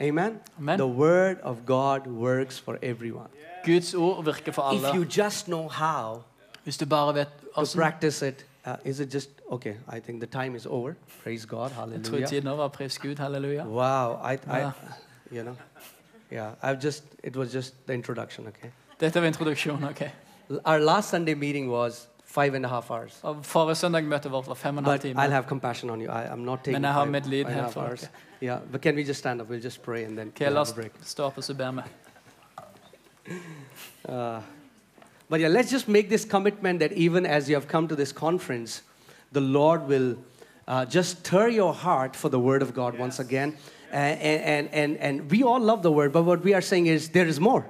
Speaker 1: Amen.
Speaker 2: Amen.
Speaker 1: The word of God works for everyone.
Speaker 2: Guds ord virker for
Speaker 1: If
Speaker 2: alle.
Speaker 1: you just know how
Speaker 2: Hvis du bare vet
Speaker 1: to
Speaker 2: hvordan.
Speaker 1: practice it, uh, is it just okay? I think the time is over. Praise God.
Speaker 2: Jeg tror
Speaker 1: Hallelujah.
Speaker 2: tiden er over. Pris Gud, halleluja.
Speaker 1: Wow, I, I,
Speaker 2: Yeah.
Speaker 1: you know, yeah, I've just, it was just the introduction, okay?
Speaker 2: Dette var introduksjonen. ok.
Speaker 1: L- Our last Sunday meeting was five and a half hours.
Speaker 2: Og Forrige søndag møtet vårt var fem og en halv
Speaker 1: But I'll
Speaker 2: time.
Speaker 1: have compassion on you. I, I'm not taking
Speaker 2: Men jeg har
Speaker 1: five
Speaker 2: medlidenhet
Speaker 1: five and a half
Speaker 2: for dere.
Speaker 1: hours. Yeah, but can we just stand up? We'll just pray and then
Speaker 2: Ok,
Speaker 1: we'll
Speaker 2: La
Speaker 1: have
Speaker 2: oss
Speaker 1: a break.
Speaker 2: stå opp og så ber vi.
Speaker 1: Uh, but yeah, let's just make this commitment that even as you have come to this conference, the Lord will uh, just stir your heart for the Word of God once again. And, and, and, and we all love the Word, but what we are saying is there is more.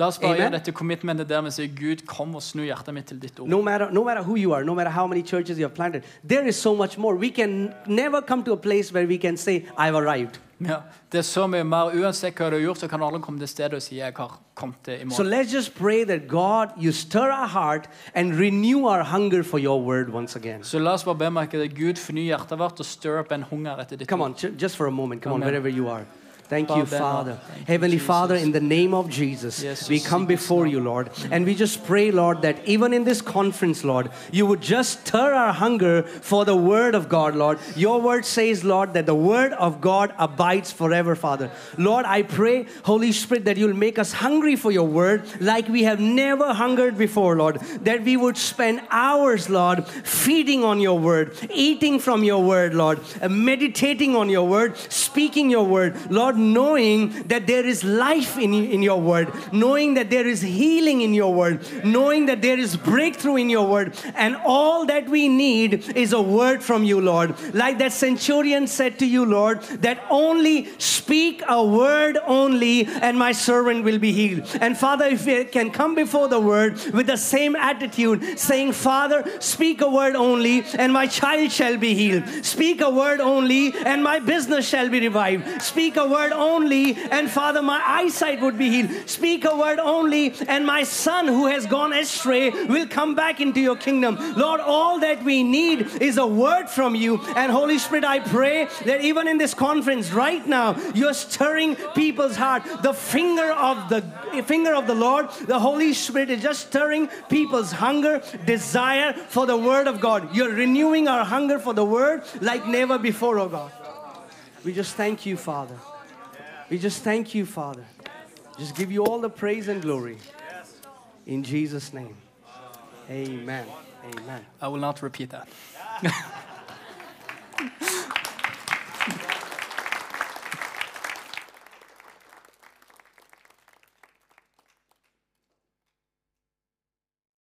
Speaker 2: La oss bare
Speaker 1: Amen.
Speaker 2: gjøre dette commitmentet der vi sier Gud, kom og snu hjertet mitt til ditt ord.
Speaker 1: No matter, no matter who you are, no matter how many churches you have planted, there is so much more. We can never come to a place where we can say, I've arrived.
Speaker 2: Ja, det er så mye mer. Uansett hva du har gjort, så kan du aldri komme til stedet og si jeg har kommet til
Speaker 1: So
Speaker 2: i morgen.
Speaker 1: let's just pray that God, you stir our heart and renew our hunger for your word once again.
Speaker 2: Så la oss bare be om at Gud fornyer hjertet vårt og stir opp en hunger etter ditt
Speaker 1: Come
Speaker 2: ord.
Speaker 1: on, ju- just for a moment. Come on,
Speaker 2: Amen.
Speaker 1: wherever you are. Thank
Speaker 2: Bow
Speaker 1: you,
Speaker 2: down.
Speaker 1: Father.
Speaker 2: Thank you,
Speaker 1: Heavenly
Speaker 2: Jesus.
Speaker 1: Father, in the name of Jesus,
Speaker 2: Yes,
Speaker 1: we
Speaker 2: Jesus.
Speaker 1: come before you, Lord, and we just pray, Lord, that even in this conference, Lord, you would just stir our hunger for the Word of God, Lord. Your Word says, Lord, that the Word of God abides forever, Father. Lord, I pray, Holy Spirit, that you'll make us hungry for your Word like we have never hungered before, Lord. That we would spend hours, Lord, feeding on your Word, eating from your Word, Lord, uh, meditating on your Word, speaking your Word, Lord, knowing that there is life in, in your Word, knowing that there is healing in your Word, knowing that there is breakthrough in your Word, and all that we need is a word from you, Lord. Like that centurion said to you, Lord, that only speak a word only, and my servant will be healed. And Father, if we can come before the word with the same attitude, saying, Father, speak a word only, and my child shall be healed. Speak a word only, and my business shall be revived. Speak a word only, and Father, my eyesight would be healed. Speak a word only, and my son who has gone astray will come back into your kingdom. Lord, all that we need is a word from you. And Holy Spirit, I pray that even in this conference right now, you're stirring people's heart. The finger of the finger of the Lord, the Holy Spirit is just stirring people's hunger, desire for the word of God. You're renewing our hunger for the word like never before, oh God. We just thank you, Father. We just thank you, Father. Just give you all the praise and glory. In Jesus' name. Amen. Amen.
Speaker 2: I will not repeat that.